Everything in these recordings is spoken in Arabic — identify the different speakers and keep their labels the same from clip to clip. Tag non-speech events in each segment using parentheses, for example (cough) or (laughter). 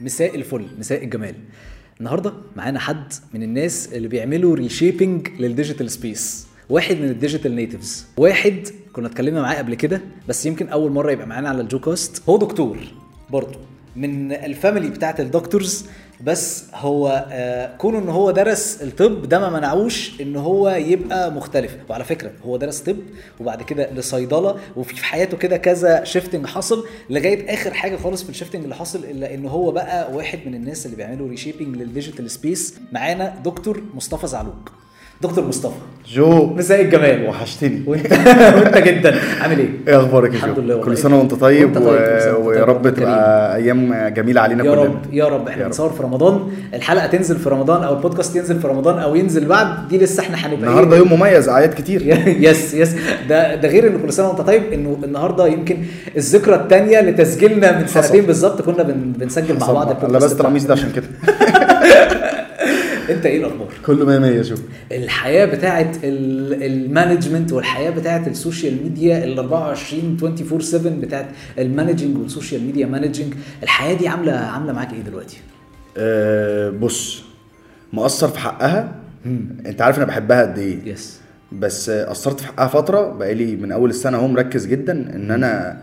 Speaker 1: مساء الفل مساء الجمال النهارده معانا حد من الناس اللي بيعملوا ريشيبنج للديجيتال سبيس واحد من الديجيتال نيتيفز واحد كنا اتكلمنا معاه قبل كده بس يمكن اول مره يبقى معانا على الجو كاست هو دكتور برضه من الفاميلي بتاعه الدكتورز بس هو آه، كونه ان هو درس الطب ده ما منعوش ان هو يبقى مختلف وعلى فكره هو درس طب وبعد كده لصيدله وفي في حياته كده كذا شيفتنج حصل لغايه اخر حاجه خالص في الشيفتنج اللي حصل الا ان هو بقى واحد من الناس اللي بيعملوا ريشيبنج للديجيتال سبيس معانا دكتور مصطفى زعلوق دكتور مصطفى
Speaker 2: جو
Speaker 1: مساء (laughs) الجمال
Speaker 2: وحشتني
Speaker 1: وانت وانت جدا عامل ايه؟
Speaker 2: ايه اخبارك يا
Speaker 1: الحمد
Speaker 2: جو؟
Speaker 1: لله والله.
Speaker 2: كل سنه وانت طيب,
Speaker 1: وانت طيب، كل سنة وانت
Speaker 2: ويا
Speaker 1: طيب
Speaker 2: رب
Speaker 1: وانت
Speaker 2: تبقى ايام جميله علينا
Speaker 1: يا
Speaker 2: كلنا
Speaker 1: رب يا رب
Speaker 2: يا
Speaker 1: احنا
Speaker 2: رب.
Speaker 1: بنصور في رمضان الحلقه تنزل في رمضان او البودكاست ينزل في رمضان او ينزل بعد دي لسه احنا هنبقى ايه؟
Speaker 2: النهارده يوم مميز اعياد
Speaker 1: (laughs)
Speaker 2: كتير
Speaker 1: يس يس ده ده غير ان كل سنه وانت طيب انه النهارده يمكن الذكرى الثانيه لتسجيلنا من
Speaker 2: حصل.
Speaker 1: سنتين بالظبط كنا بن بنسجل مع بعض
Speaker 2: انا لبست
Speaker 1: بتاع-
Speaker 2: القميص ده عشان
Speaker 1: (laughs)
Speaker 2: كده
Speaker 1: انت ايه الاخبار؟
Speaker 2: كله مية مية شوف
Speaker 1: الحياه بتاعت ال- المانجمنت والحياه بتاعت السوشيال ميديا ال 24 24 7 بتاعت المانجنج والسوشيال ميديا مانجنج الحياه دي عامله عامله معاك ايه دلوقتي؟
Speaker 2: أه بص مقصر في حقها انت عارف انا بحبها قد ايه
Speaker 1: يس
Speaker 2: بس آه، قصرت في حقها فتره بقالي من اول السنه اهو مركز جدا ان انا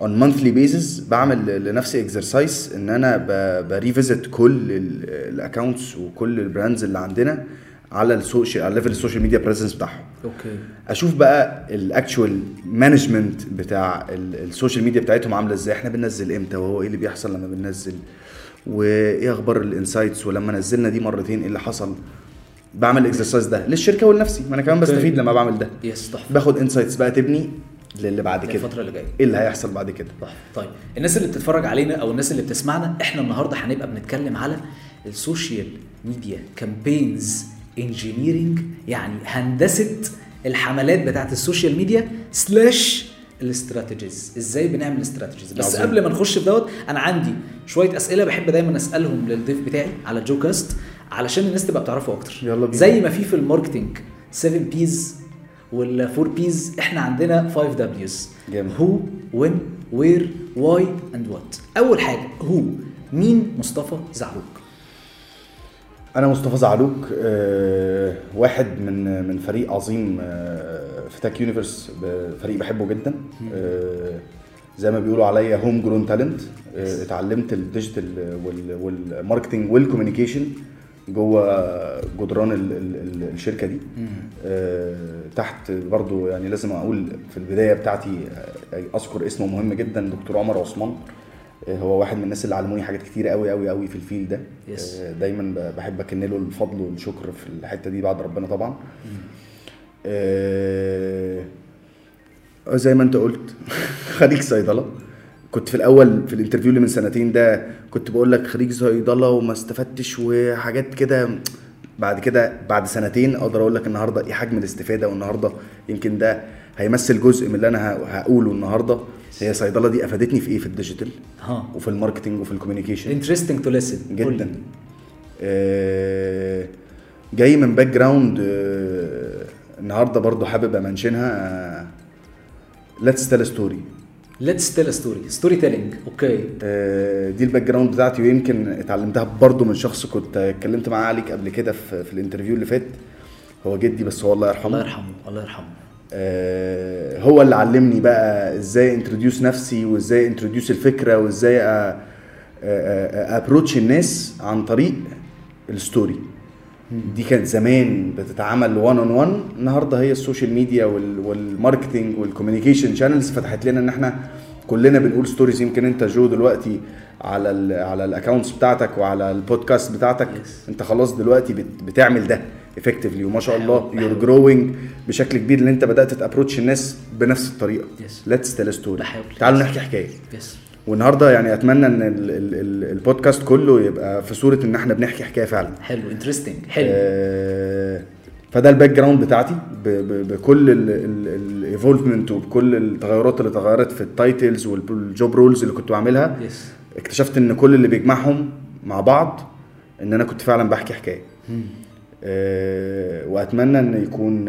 Speaker 2: on monthly basis بعمل لنفسي اكسرسايز ان انا ب- بريفيزت كل الاكونتس وكل البراندز اللي عندنا على السوشيال على ليفل السوشيال ميديا بريزنس بتاعهم
Speaker 1: اوكي
Speaker 2: اشوف بقى الاكشوال مانجمنت بتاع ال- السوشيال ميديا بتاعتهم عامله ازاي احنا بننزل امتى وهو ايه اللي بيحصل لما بننزل وايه اخبار الانسايتس ولما نزلنا دي مرتين ايه اللي حصل بعمل الاكسرسايز ده للشركه ولنفسي ما انا كمان
Speaker 1: أوكي.
Speaker 2: بستفيد لما بعمل ده
Speaker 1: يس تحفه
Speaker 2: باخد انسايتس بقى تبني للي بعد كده
Speaker 1: الفتره اللي جايه
Speaker 2: ايه اللي هيحصل بعد كده
Speaker 1: طيب. تحفة. طيب الناس اللي بتتفرج علينا او الناس اللي بتسمعنا احنا النهارده هنبقى بنتكلم على السوشيال ميديا كامبينز انجينيرنج يعني هندسه الحملات بتاعت السوشيال ميديا سلاش الاستراتيجيز ازاي بنعمل استراتيجيز بس
Speaker 2: عظيم.
Speaker 1: قبل ما نخش في دوت انا عندي شويه اسئله بحب دايما اسالهم للضيف بتاعي على الجو كاست علشان الناس تبقى بتعرفه اكتر
Speaker 2: يلا بينا.
Speaker 1: زي ما في في الماركتنج 7 بيز ولا 4 بيز احنا عندنا 5 دبليوز
Speaker 2: جامد.
Speaker 1: هو وين وير واي اند وات اول حاجه هو مين مصطفى زعروك
Speaker 2: انا مصطفى زعلوك آه، واحد من من فريق عظيم آه، في تاك يونيفرس ب- فريق بحبه جدا آه، زي ما بيقولوا عليا هوم جرون تالنت آه، اتعلمت الديجيتال وال- والماركتنج والكوميونيكيشن جوه جدران ال- ال- ال- الشركه دي آه، تحت برضو يعني لازم اقول في البدايه بتاعتي آه، اذكر اسمه مهم جدا دكتور عمر عثمان آه، هو واحد من الناس اللي علموني حاجات كتير قوي قوي قوي في الفيل ده
Speaker 1: Yes.
Speaker 2: آه، دايما ب- بحب اكن له الفضل والشكر في الحته دي بعد ربنا طبعا آه، زي ما انت قلت (laughs) خريج صيدله كنت في الاول في الانترفيو اللي من سنتين ده كنت بقول لك خريج صيدله وما استفدتش وحاجات كده بعد كده بعد سنتين اقدر اقول لك النهارده ايه حجم الاستفاده والنهارده يمكن ده هيمثل جزء من اللي انا ه- هقوله النهارده هي صيدله دي افادتني في ايه في الديجيتال
Speaker 1: ها
Speaker 2: وفي الماركتنج وفي الكوميونيكيشن
Speaker 1: انترستنج تو ليسن
Speaker 2: جدا آه، جاي من باك جراوند آه، النهارده برضو حابب آه، امنشنها ليتس تيل ستوري
Speaker 1: ليتس تيل ستوري ستوري تيلينج اوكي
Speaker 2: آه، دي الباك جراوند بتاعتي ويمكن اتعلمتها برضو من شخص كنت اتكلمت معاه عليك قبل كده في, في الانترفيو اللي فات هو جدي بس هو الله
Speaker 1: الله
Speaker 2: يرحمه
Speaker 1: يرحمه الله يرحمه
Speaker 2: آه، هو اللي علمني بقى ازاي انتروديوس نفسي وازاي انتروديوس الفكره وازاي ابروتش آه، الناس عن طريق الستوري دي كانت زمان بتتعمل 1 اون 1 النهارده هي السوشيال ميديا وال- والماركتنج والكوميونيكيشن شانلز فتحت لنا ان احنا كلنا بنقول ستوريز يمكن انت جو دلوقتي على ال على الاكونتس بتاعتك وعلى البودكاست بتاعتك
Speaker 1: Yes.
Speaker 2: انت خلاص دلوقتي بت- بتعمل ده افكتفلي وما شاء شاء الله
Speaker 1: بحاول-
Speaker 2: يور
Speaker 1: بحاول.
Speaker 2: جروينج بشكل كبير ان انت بدات تابروتش الناس بنفس الطريقه
Speaker 1: Yes.
Speaker 2: ليتس تيل ستوري
Speaker 1: بحاول.
Speaker 2: تعالوا نحكي حكايه
Speaker 1: يس
Speaker 2: والنهارده يعني اتمنى ان ال ال ال البودكاست كله يبقى في صوره ان احنا بنحكي حكايه فعلا
Speaker 1: حلو انترستنج حلو
Speaker 2: آه، فده الباك جراوند بتاعتي ب- ب- بكل الايفولفمنت وبكل التغيرات اللي اتغيرت في التايتلز والجوب رولز اللي كنت بعملها
Speaker 1: يس
Speaker 2: اكتشفت ان كل اللي بيجمعهم مع بعض ان انا كنت فعلا بحكي حكايه آه، واتمنى ان يكون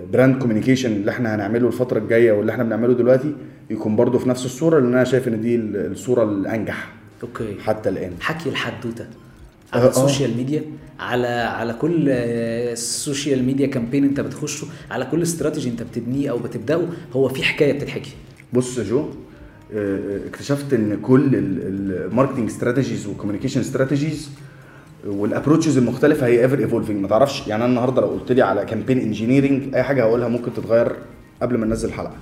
Speaker 2: البراند كوميونيكيشن اللي احنا هنعمله الفتره الجايه واللي احنا بنعمله دلوقتي يكون برضو في نفس الصوره لان انا شايف ان دي ال- الصوره الانجح
Speaker 1: اوكي
Speaker 2: حتى الان
Speaker 1: حكي الحدوته على
Speaker 2: آه، آه.
Speaker 1: السوشيال ميديا على على كل آه، السوشيال ميديا كامبين انت بتخشه على كل استراتيجي انت بتبنيه او بتبداه هو في حكايه بتتحكي
Speaker 2: بص يا جو آه، اكتشفت ان كل الماركتنج استراتيجيز والكوميونيكيشن استراتيجيز والابروتشز المختلفه هي ايفر ايفولفنج ما تعرفش يعني انا النهارده لو قلت لي على كامبين انجينيرنج اي حاجه هقولها ممكن تتغير قبل ما ننزل حلقه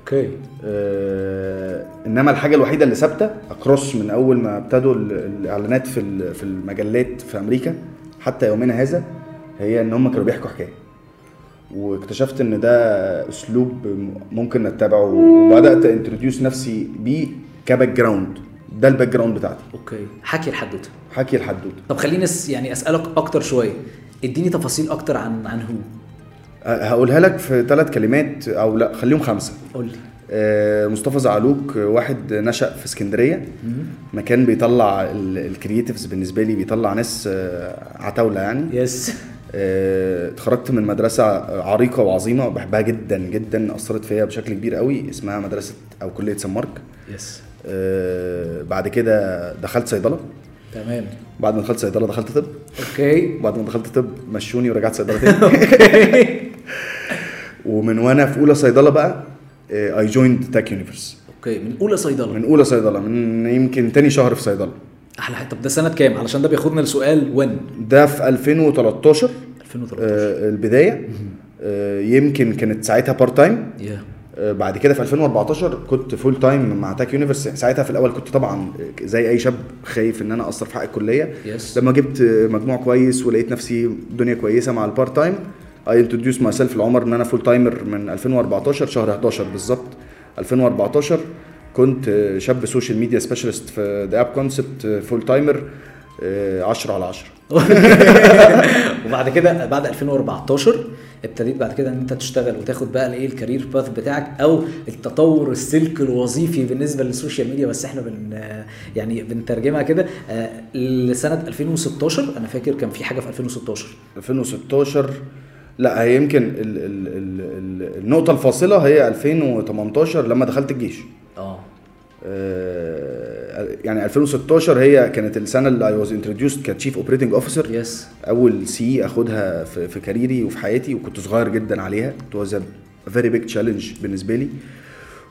Speaker 1: اوكي
Speaker 2: آه، انما الحاجه الوحيده اللي ثابته اكروس من اول ما ابتدوا ال- الاعلانات في ال- في المجلات في امريكا حتى يومنا هذا هي ان هم كانوا بيحكوا حكايه واكتشفت ان ده اسلوب ممكن نتبعه وبدات انتروديوس نفسي بيه كباك جراوند ده الباك جراوند بتاعتي
Speaker 1: اوكي حكي الحدوته
Speaker 2: حكي الحدوته
Speaker 1: طب خليني أس يعني اسالك اكتر شويه اديني تفاصيل اكتر عن عن هو
Speaker 2: أه، هقولها لك في ثلاث كلمات او لا خليهم خمسه
Speaker 1: قول لي
Speaker 2: آه، مصطفى زعلوك آه، واحد نشأ في اسكندريه مكان بيطلع الكرييتيفز بالنسبه لي بيطلع ناس آه، عتاوله يعني
Speaker 1: يس
Speaker 2: آه، اتخرجت من مدرسه عريقه وعظيمه بحبها جدا جدا اثرت فيا بشكل كبير قوي اسمها مدرسه او كليه سان مارك
Speaker 1: يس
Speaker 2: آه، بعد كده دخلت صيدله
Speaker 1: تمام
Speaker 2: بعد ما دخلت صيدله دخلت طب (laughs)
Speaker 1: اوكي
Speaker 2: بعد ما دخلت طب مشوني ورجعت صيدله
Speaker 1: (laughs)
Speaker 2: تاني ومن وانا في اولى صيدله بقى آه، اي جويند تاك يونيفرس
Speaker 1: اوكي من اولى صيدله
Speaker 2: من اولى صيدله من يمكن تاني شهر في صيدله
Speaker 1: احلى حاجة. طب ده سنه كام علشان ده بياخدنا لسؤال وين
Speaker 2: ده في 2013
Speaker 1: 2013
Speaker 2: آه، البدايه آه، يمكن كانت ساعتها بارت تايم
Speaker 1: يا
Speaker 2: بعد كده في 2014 كنت فول تايم مع تاك يونيفرس ساعتها في الاول كنت طبعا زي اي شاب خايف ان انا اثر في حق الكليه
Speaker 1: يس
Speaker 2: لما جبت مجموع كويس ولقيت نفسي الدنيا كويسه مع البارت تايم اي انتروديوس ماي سيلف لعمر ان انا فول تايمر من 2014 شهر 11 بالظبط 2014 كنت شاب سوشيال ميديا سبيشالست في ذا اب كونسبت فول تايمر 10 آه، على 10
Speaker 1: (laughs) وبعد كده بعد 2014 ابتديت بعد كده ان انت تشتغل وتاخد بقى الايه الكارير باث بتاعك او التطور السلك الوظيفي بالنسبه للسوشيال ميديا بس احنا بن يعني بنترجمها كده آه، لسنه 2016 انا فاكر كان في حاجه في 2016
Speaker 2: 2016 لا هي يمكن ال ال ال ال النقطة الفاصلة هي 2018 لما دخلت الجيش
Speaker 1: اه
Speaker 2: آه، يعني 2016 هي كانت السنة اللي I was introduced كتشيف اوبريتنج اوفيسر
Speaker 1: يس
Speaker 2: اول سي اخدها في, في كاريري وفي حياتي وكنت صغير جدا عليها it was a very big challenge بالنسبه لي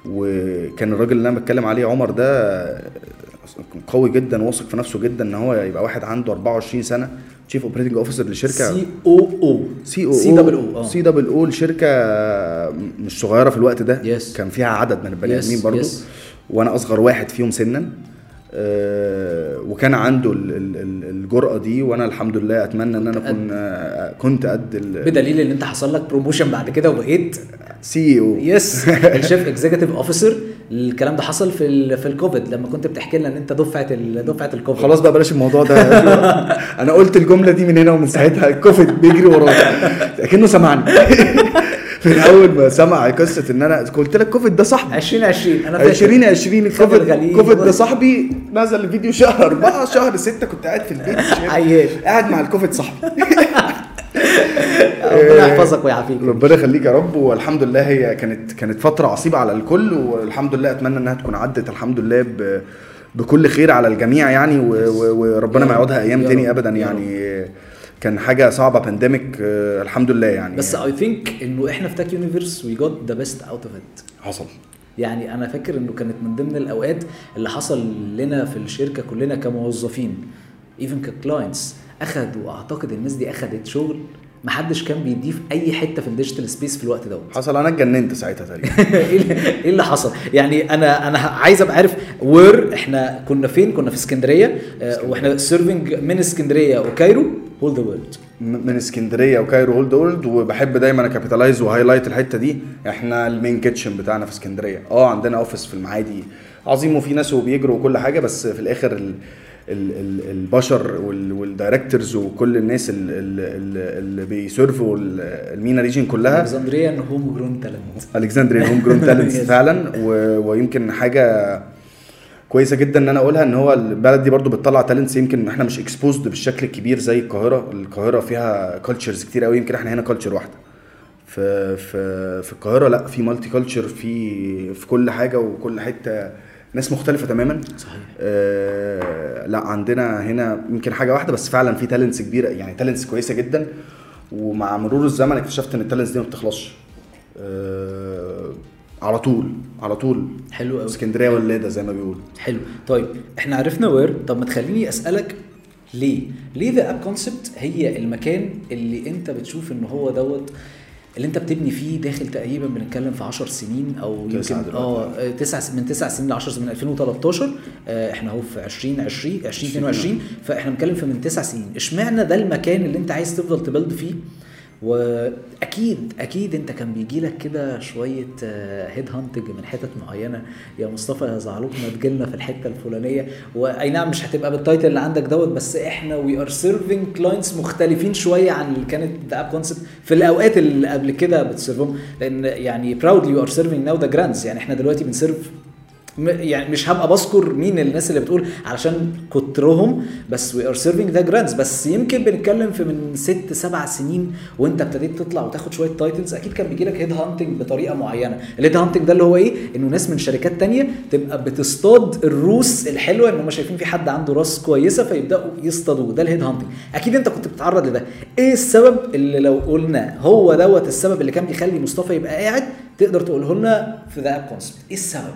Speaker 2: وكان الراجل اللي انا بتكلم عليه عمر ده كان قوي جدا واثق في نفسه جدا ان هو يبقى واحد عنده 24 سنه تشيف اوبريتنج اوفيسر لشركه
Speaker 1: سي او او
Speaker 2: سي او
Speaker 1: سي دبل او
Speaker 2: سي دبل او لشركه مش صغيره في الوقت ده
Speaker 1: Yes.
Speaker 2: كان فيها عدد من البني
Speaker 1: Yes,
Speaker 2: ادمين برضه
Speaker 1: yes.
Speaker 2: وانا اصغر واحد فيهم سنا آه، وكان عنده ال- ال- ال- الجرأه دي وانا الحمد لله اتمنى ان انا اكون آه، كنت قد
Speaker 1: بدليل ان انت حصل لك بروموشن بعد كده وبقيت
Speaker 2: السي او
Speaker 1: يس الشيف اكزيكتيف اوفيسر الكلام ده حصل في ال- في الكوفيد لما كنت بتحكي لنا ان انت دفعه ال- دفعه الكوفيد
Speaker 2: خلاص بقى بلاش
Speaker 1: (laughs)
Speaker 2: الموضوع ده انا قلت الجمله دي من هنا ومن ساعتها الكوفيد بيجري ورايا كانه سمعني (laughs) من اول ما سمع قصه ان انا قلت لك كوفيد ده صاحبي
Speaker 1: 2020 انا فاكر
Speaker 2: 2020
Speaker 1: خد
Speaker 2: الكوفيد
Speaker 1: الغليل.
Speaker 2: كوفيد ده صاحبي نزل الفيديو شهر 4 شهر 6 كنت قاعد في
Speaker 1: (laughs)
Speaker 2: البيت
Speaker 1: عيال
Speaker 2: قاعد مع الكوفيد صاحبي
Speaker 1: ربنا يحفظك ويعافيك
Speaker 2: ربنا يخليك يا رب والحمد لله هي كانت كانت فتره عصيبه على الكل والحمد لله اتمنى انها تكون عدت الحمد لله ب بكل خير على الجميع يعني و- و-
Speaker 1: يا
Speaker 2: وربنا ما
Speaker 1: رب.
Speaker 2: يقعدها ايام
Speaker 1: يا
Speaker 2: تاني
Speaker 1: رب.
Speaker 2: ابدا
Speaker 1: يا رب.
Speaker 2: يعني كان حاجه صعبه بانديميك الحمد لله يعني
Speaker 1: بس اي ثينك انه احنا في تاك يونيفرس وي جوت ذا بيست اوت اوف ات
Speaker 2: حصل
Speaker 1: يعني انا فاكر انه كانت من ضمن الاوقات اللي حصل لنا في الشركه كلنا كموظفين ايفن ككلاينتس اخدوا اعتقد الناس دي اخدت شغل محدش كان بيديه في اي حته في الديجيتال سبيس في الوقت دوت
Speaker 2: حصل انا اتجننت ساعتها تقريبا
Speaker 1: ايه اللي- (laughs) إيه اللي حصل؟ يعني انا انا عايز ابقى عارف وير احنا كنا فين؟ كنا في اسكندريه آه، واحنا سيرفنج من اسكندريه وكايرو هول ذا وورلد
Speaker 2: م- من اسكندريه وكايرو هولد وورلد وبحب دايما اكابيتالايز وهايلايت الحته دي احنا المين كيتشن بتاعنا في اسكندريه اه عندنا اوفيس في المعادي عظيم وفي ناس وبيجروا وكل حاجه بس في الاخر ال ال ال البشر وال- والدايركتورز وكل الناس ال- ال- ال- اللي بيسيرفوا ال- المينا ريجن كلها
Speaker 1: الكسندريه ان هوم جرون تالنت
Speaker 2: الكسندريا هوم جرون تالنتس
Speaker 1: Yes.
Speaker 2: فعلا و... ويمكن حاجه كويسه جدا ان انا اقولها ان هو البلد دي برضو بتطلع تالنتس يمكن احنا مش اكسبوزد بالشكل الكبير زي القاهره القاهره فيها كالتشرز كتير قوي يمكن احنا هنا كالتشر واحده في في في القاهره لا في مالتي كالتشر في في كل حاجه وكل حته ناس مختلفه تماما
Speaker 1: صحيح
Speaker 2: آه لا عندنا هنا يمكن حاجه واحده بس فعلا في تالنتس كبيره يعني تالنتس كويسه جدا ومع مرور الزمن اكتشفت ان التالنتس دي ما بتخلصش آه على طول على طول
Speaker 1: حلو قوي
Speaker 2: اسكندريه ولاده زي ما بيقولوا
Speaker 1: حلو طيب احنا عرفنا وير طب ما تخليني اسالك ليه ليه ذا اب كونسبت هي المكان اللي انت بتشوف ان هو دوت اللي انت بتبني فيه داخل تقريبا بنتكلم في 10 سنين او يمكن
Speaker 2: تسعة دلوقتي.
Speaker 1: اه تسع من 9 سنين ل 10 سنين من 2013 آه احنا اهو في 2020 2022 فاحنا بنتكلم في من 9 سنين اشمعنى ده المكان اللي انت عايز تفضل تبلد فيه واكيد اكيد انت كان بيجي لك كده شويه هيد هانتنج من حتت معينه يا مصطفى يا زعلوك ما تجيلنا في الحته الفلانيه واي نعم مش هتبقى بالتايتل اللي عندك دوت بس احنا وي ار سيرفينج كلاينتس مختلفين شويه عن اللي كانت ذا اب كونسبت في الاوقات اللي قبل كده بتسيرفهم لان يعني براودلي وي ار سيرفينج ناو ذا جراندز يعني احنا دلوقتي بنسيرف م- يعني مش هبقى بذكر مين الناس اللي بتقول علشان كترهم بس وي ار سيرفينج ذا جراندز بس يمكن بنتكلم في من ست سبع سنين وانت ابتديت تطلع وتاخد شويه تايتلز اكيد كان بيجي لك هيد هانتنج بطريقه معينه الهيد هانتنج ده اللي هو ايه انه ناس من شركات تانية تبقى بتصطاد الروس الحلوه ان هم شايفين في حد عنده راس كويسه فيبداوا يصطادوه ده الهيد هانتنج اكيد انت كنت بتتعرض لده ايه السبب اللي لو قلنا هو دوت السبب اللي كان بيخلي مصطفى يبقى قاعد تقدر تقوله لنا في ذا اب كونسبت ايه السبب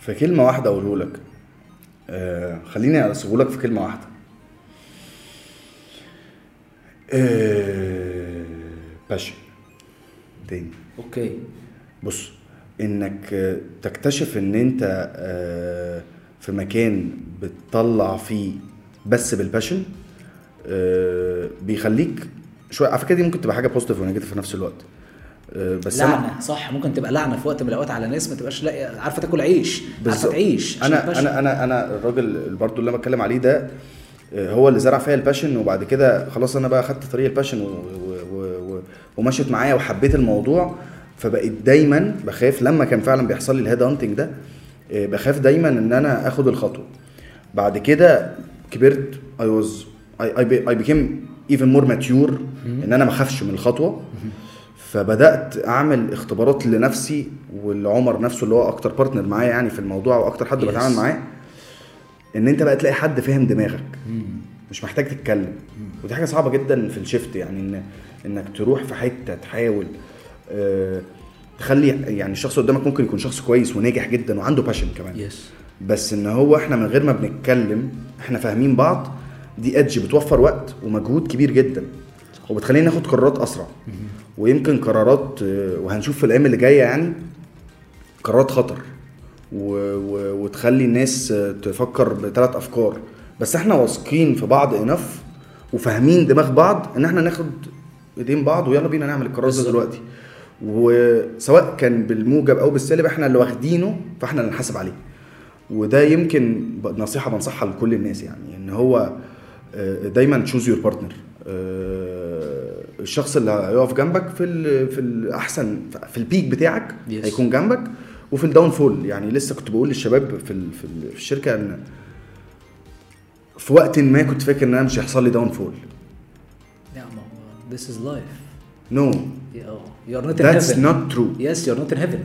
Speaker 2: في كلمه واحده اقوله لك آه خليني اسيبه لك في كلمه واحده آه باشا تاني
Speaker 1: اوكي
Speaker 2: بص انك آه، تكتشف ان انت آه، في مكان بتطلع فيه بس بالباشن آه، بيخليك شويه على فكره دي ممكن تبقى حاجه بوزيتيف ونيجاتيف في نفس الوقت آه، بس انا
Speaker 1: لعنه صح ممكن تبقى لعنه في وقت من الاوقات على ناس ما تبقاش لاقيه عارفه تاكل عيش عارفه
Speaker 2: بالظبط.
Speaker 1: تعيش عشان
Speaker 2: انا
Speaker 1: باشا.
Speaker 2: انا انا انا الراجل برضو اللي انا بتكلم عليه ده آه، هو اللي زرع فيا الباشن وبعد كده خلاص انا بقى خدت طريق الباشن و... و... و... و... ومشيت معايا وحبيت الموضوع فبقيت دايما بخاف لما كان فعلا بيحصل لي الهيد هانتنج ده آه، بخاف دايما ان انا اخد الخطوه بعد كده كبرت اي واز اي اي بيكيم ايفن مور ماتيور ان انا ما اخافش من الخطوه فبدات اعمل اختبارات لنفسي ولعمر نفسه اللي هو اكتر بارتنر معايا يعني في الموضوع واكتر حد
Speaker 1: Yes.
Speaker 2: بتعامل معاه ان انت بقى تلاقي حد فاهم دماغك
Speaker 1: مم.
Speaker 2: مش محتاج تتكلم ودي حاجه صعبه جدا في الشيفت يعني ان انك تروح في حته تحاول آه، تخلي يعني الشخص قدامك ممكن يكون شخص كويس وناجح جدا وعنده باشن كمان
Speaker 1: يس
Speaker 2: بس ان هو احنا من غير ما بنتكلم احنا فاهمين بعض دي ادج بتوفر وقت ومجهود كبير جدا وبتخلينا ناخد قرارات اسرع ويمكن قرارات آه، وهنشوف في الايام اللي جايه يعني قرارات خطر و... و... وتخلي الناس آه، تفكر بثلاث افكار بس احنا واثقين في بعض انف وفاهمين دماغ بعض ان احنا ناخد ايدين بعض ويلا بينا نعمل القرار ده
Speaker 1: بالظبط.
Speaker 2: دلوقتي وسواء كان بالموجب او بالسالب احنا اللي واخدينه فاحنا اللي نحاسب عليه وده يمكن ب- نصيحه بنصحها لكل الناس يعني ان هو آه، دايما تشوز يور بارتنر آه، الشخص اللي هيقف جنبك في ال في الاحسن في البيك بتاعك
Speaker 1: Yes.
Speaker 2: هيكون جنبك وفي الداون فول يعني لسه كنت بقول للشباب في ال- في ال- في الشركه ان في وقت ما كنت فاكر ان انا مش هيحصل لي داون فول
Speaker 1: لا ما هو this is life
Speaker 2: نو
Speaker 1: اه you are not in
Speaker 2: ذاتس
Speaker 1: heaven
Speaker 2: نوت ترو
Speaker 1: yes you are not in heaven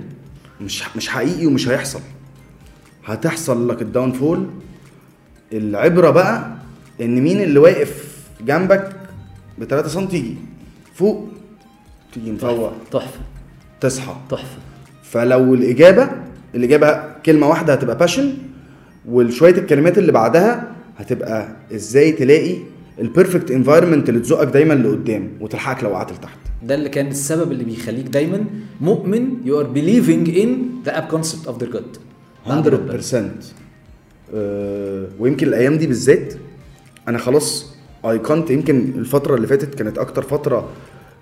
Speaker 2: مش مش حقيقي ومش هيحصل هتحصل لك الداون فول العبره بقى ان مين اللي واقف جنبك ب 3 سم تيجي فوق تيجي مفوق
Speaker 1: تحفه تحفه
Speaker 2: تصحى
Speaker 1: تحفه
Speaker 2: فلو الاجابه الاجابه كلمه واحده هتبقى باشن وشويه الكلمات اللي بعدها هتبقى ازاي تلاقي البيرفكت انفايرمنت اللي تزقك دايما لقدام وتلحقك لو وقعت لتحت
Speaker 1: ده اللي كان السبب اللي بيخليك دايما مؤمن you are believing in the app concept of their god
Speaker 2: 100% آه، ويمكن الايام دي بالذات انا خلاص ايقنت يمكن الفتره اللي فاتت كانت اكتر فتره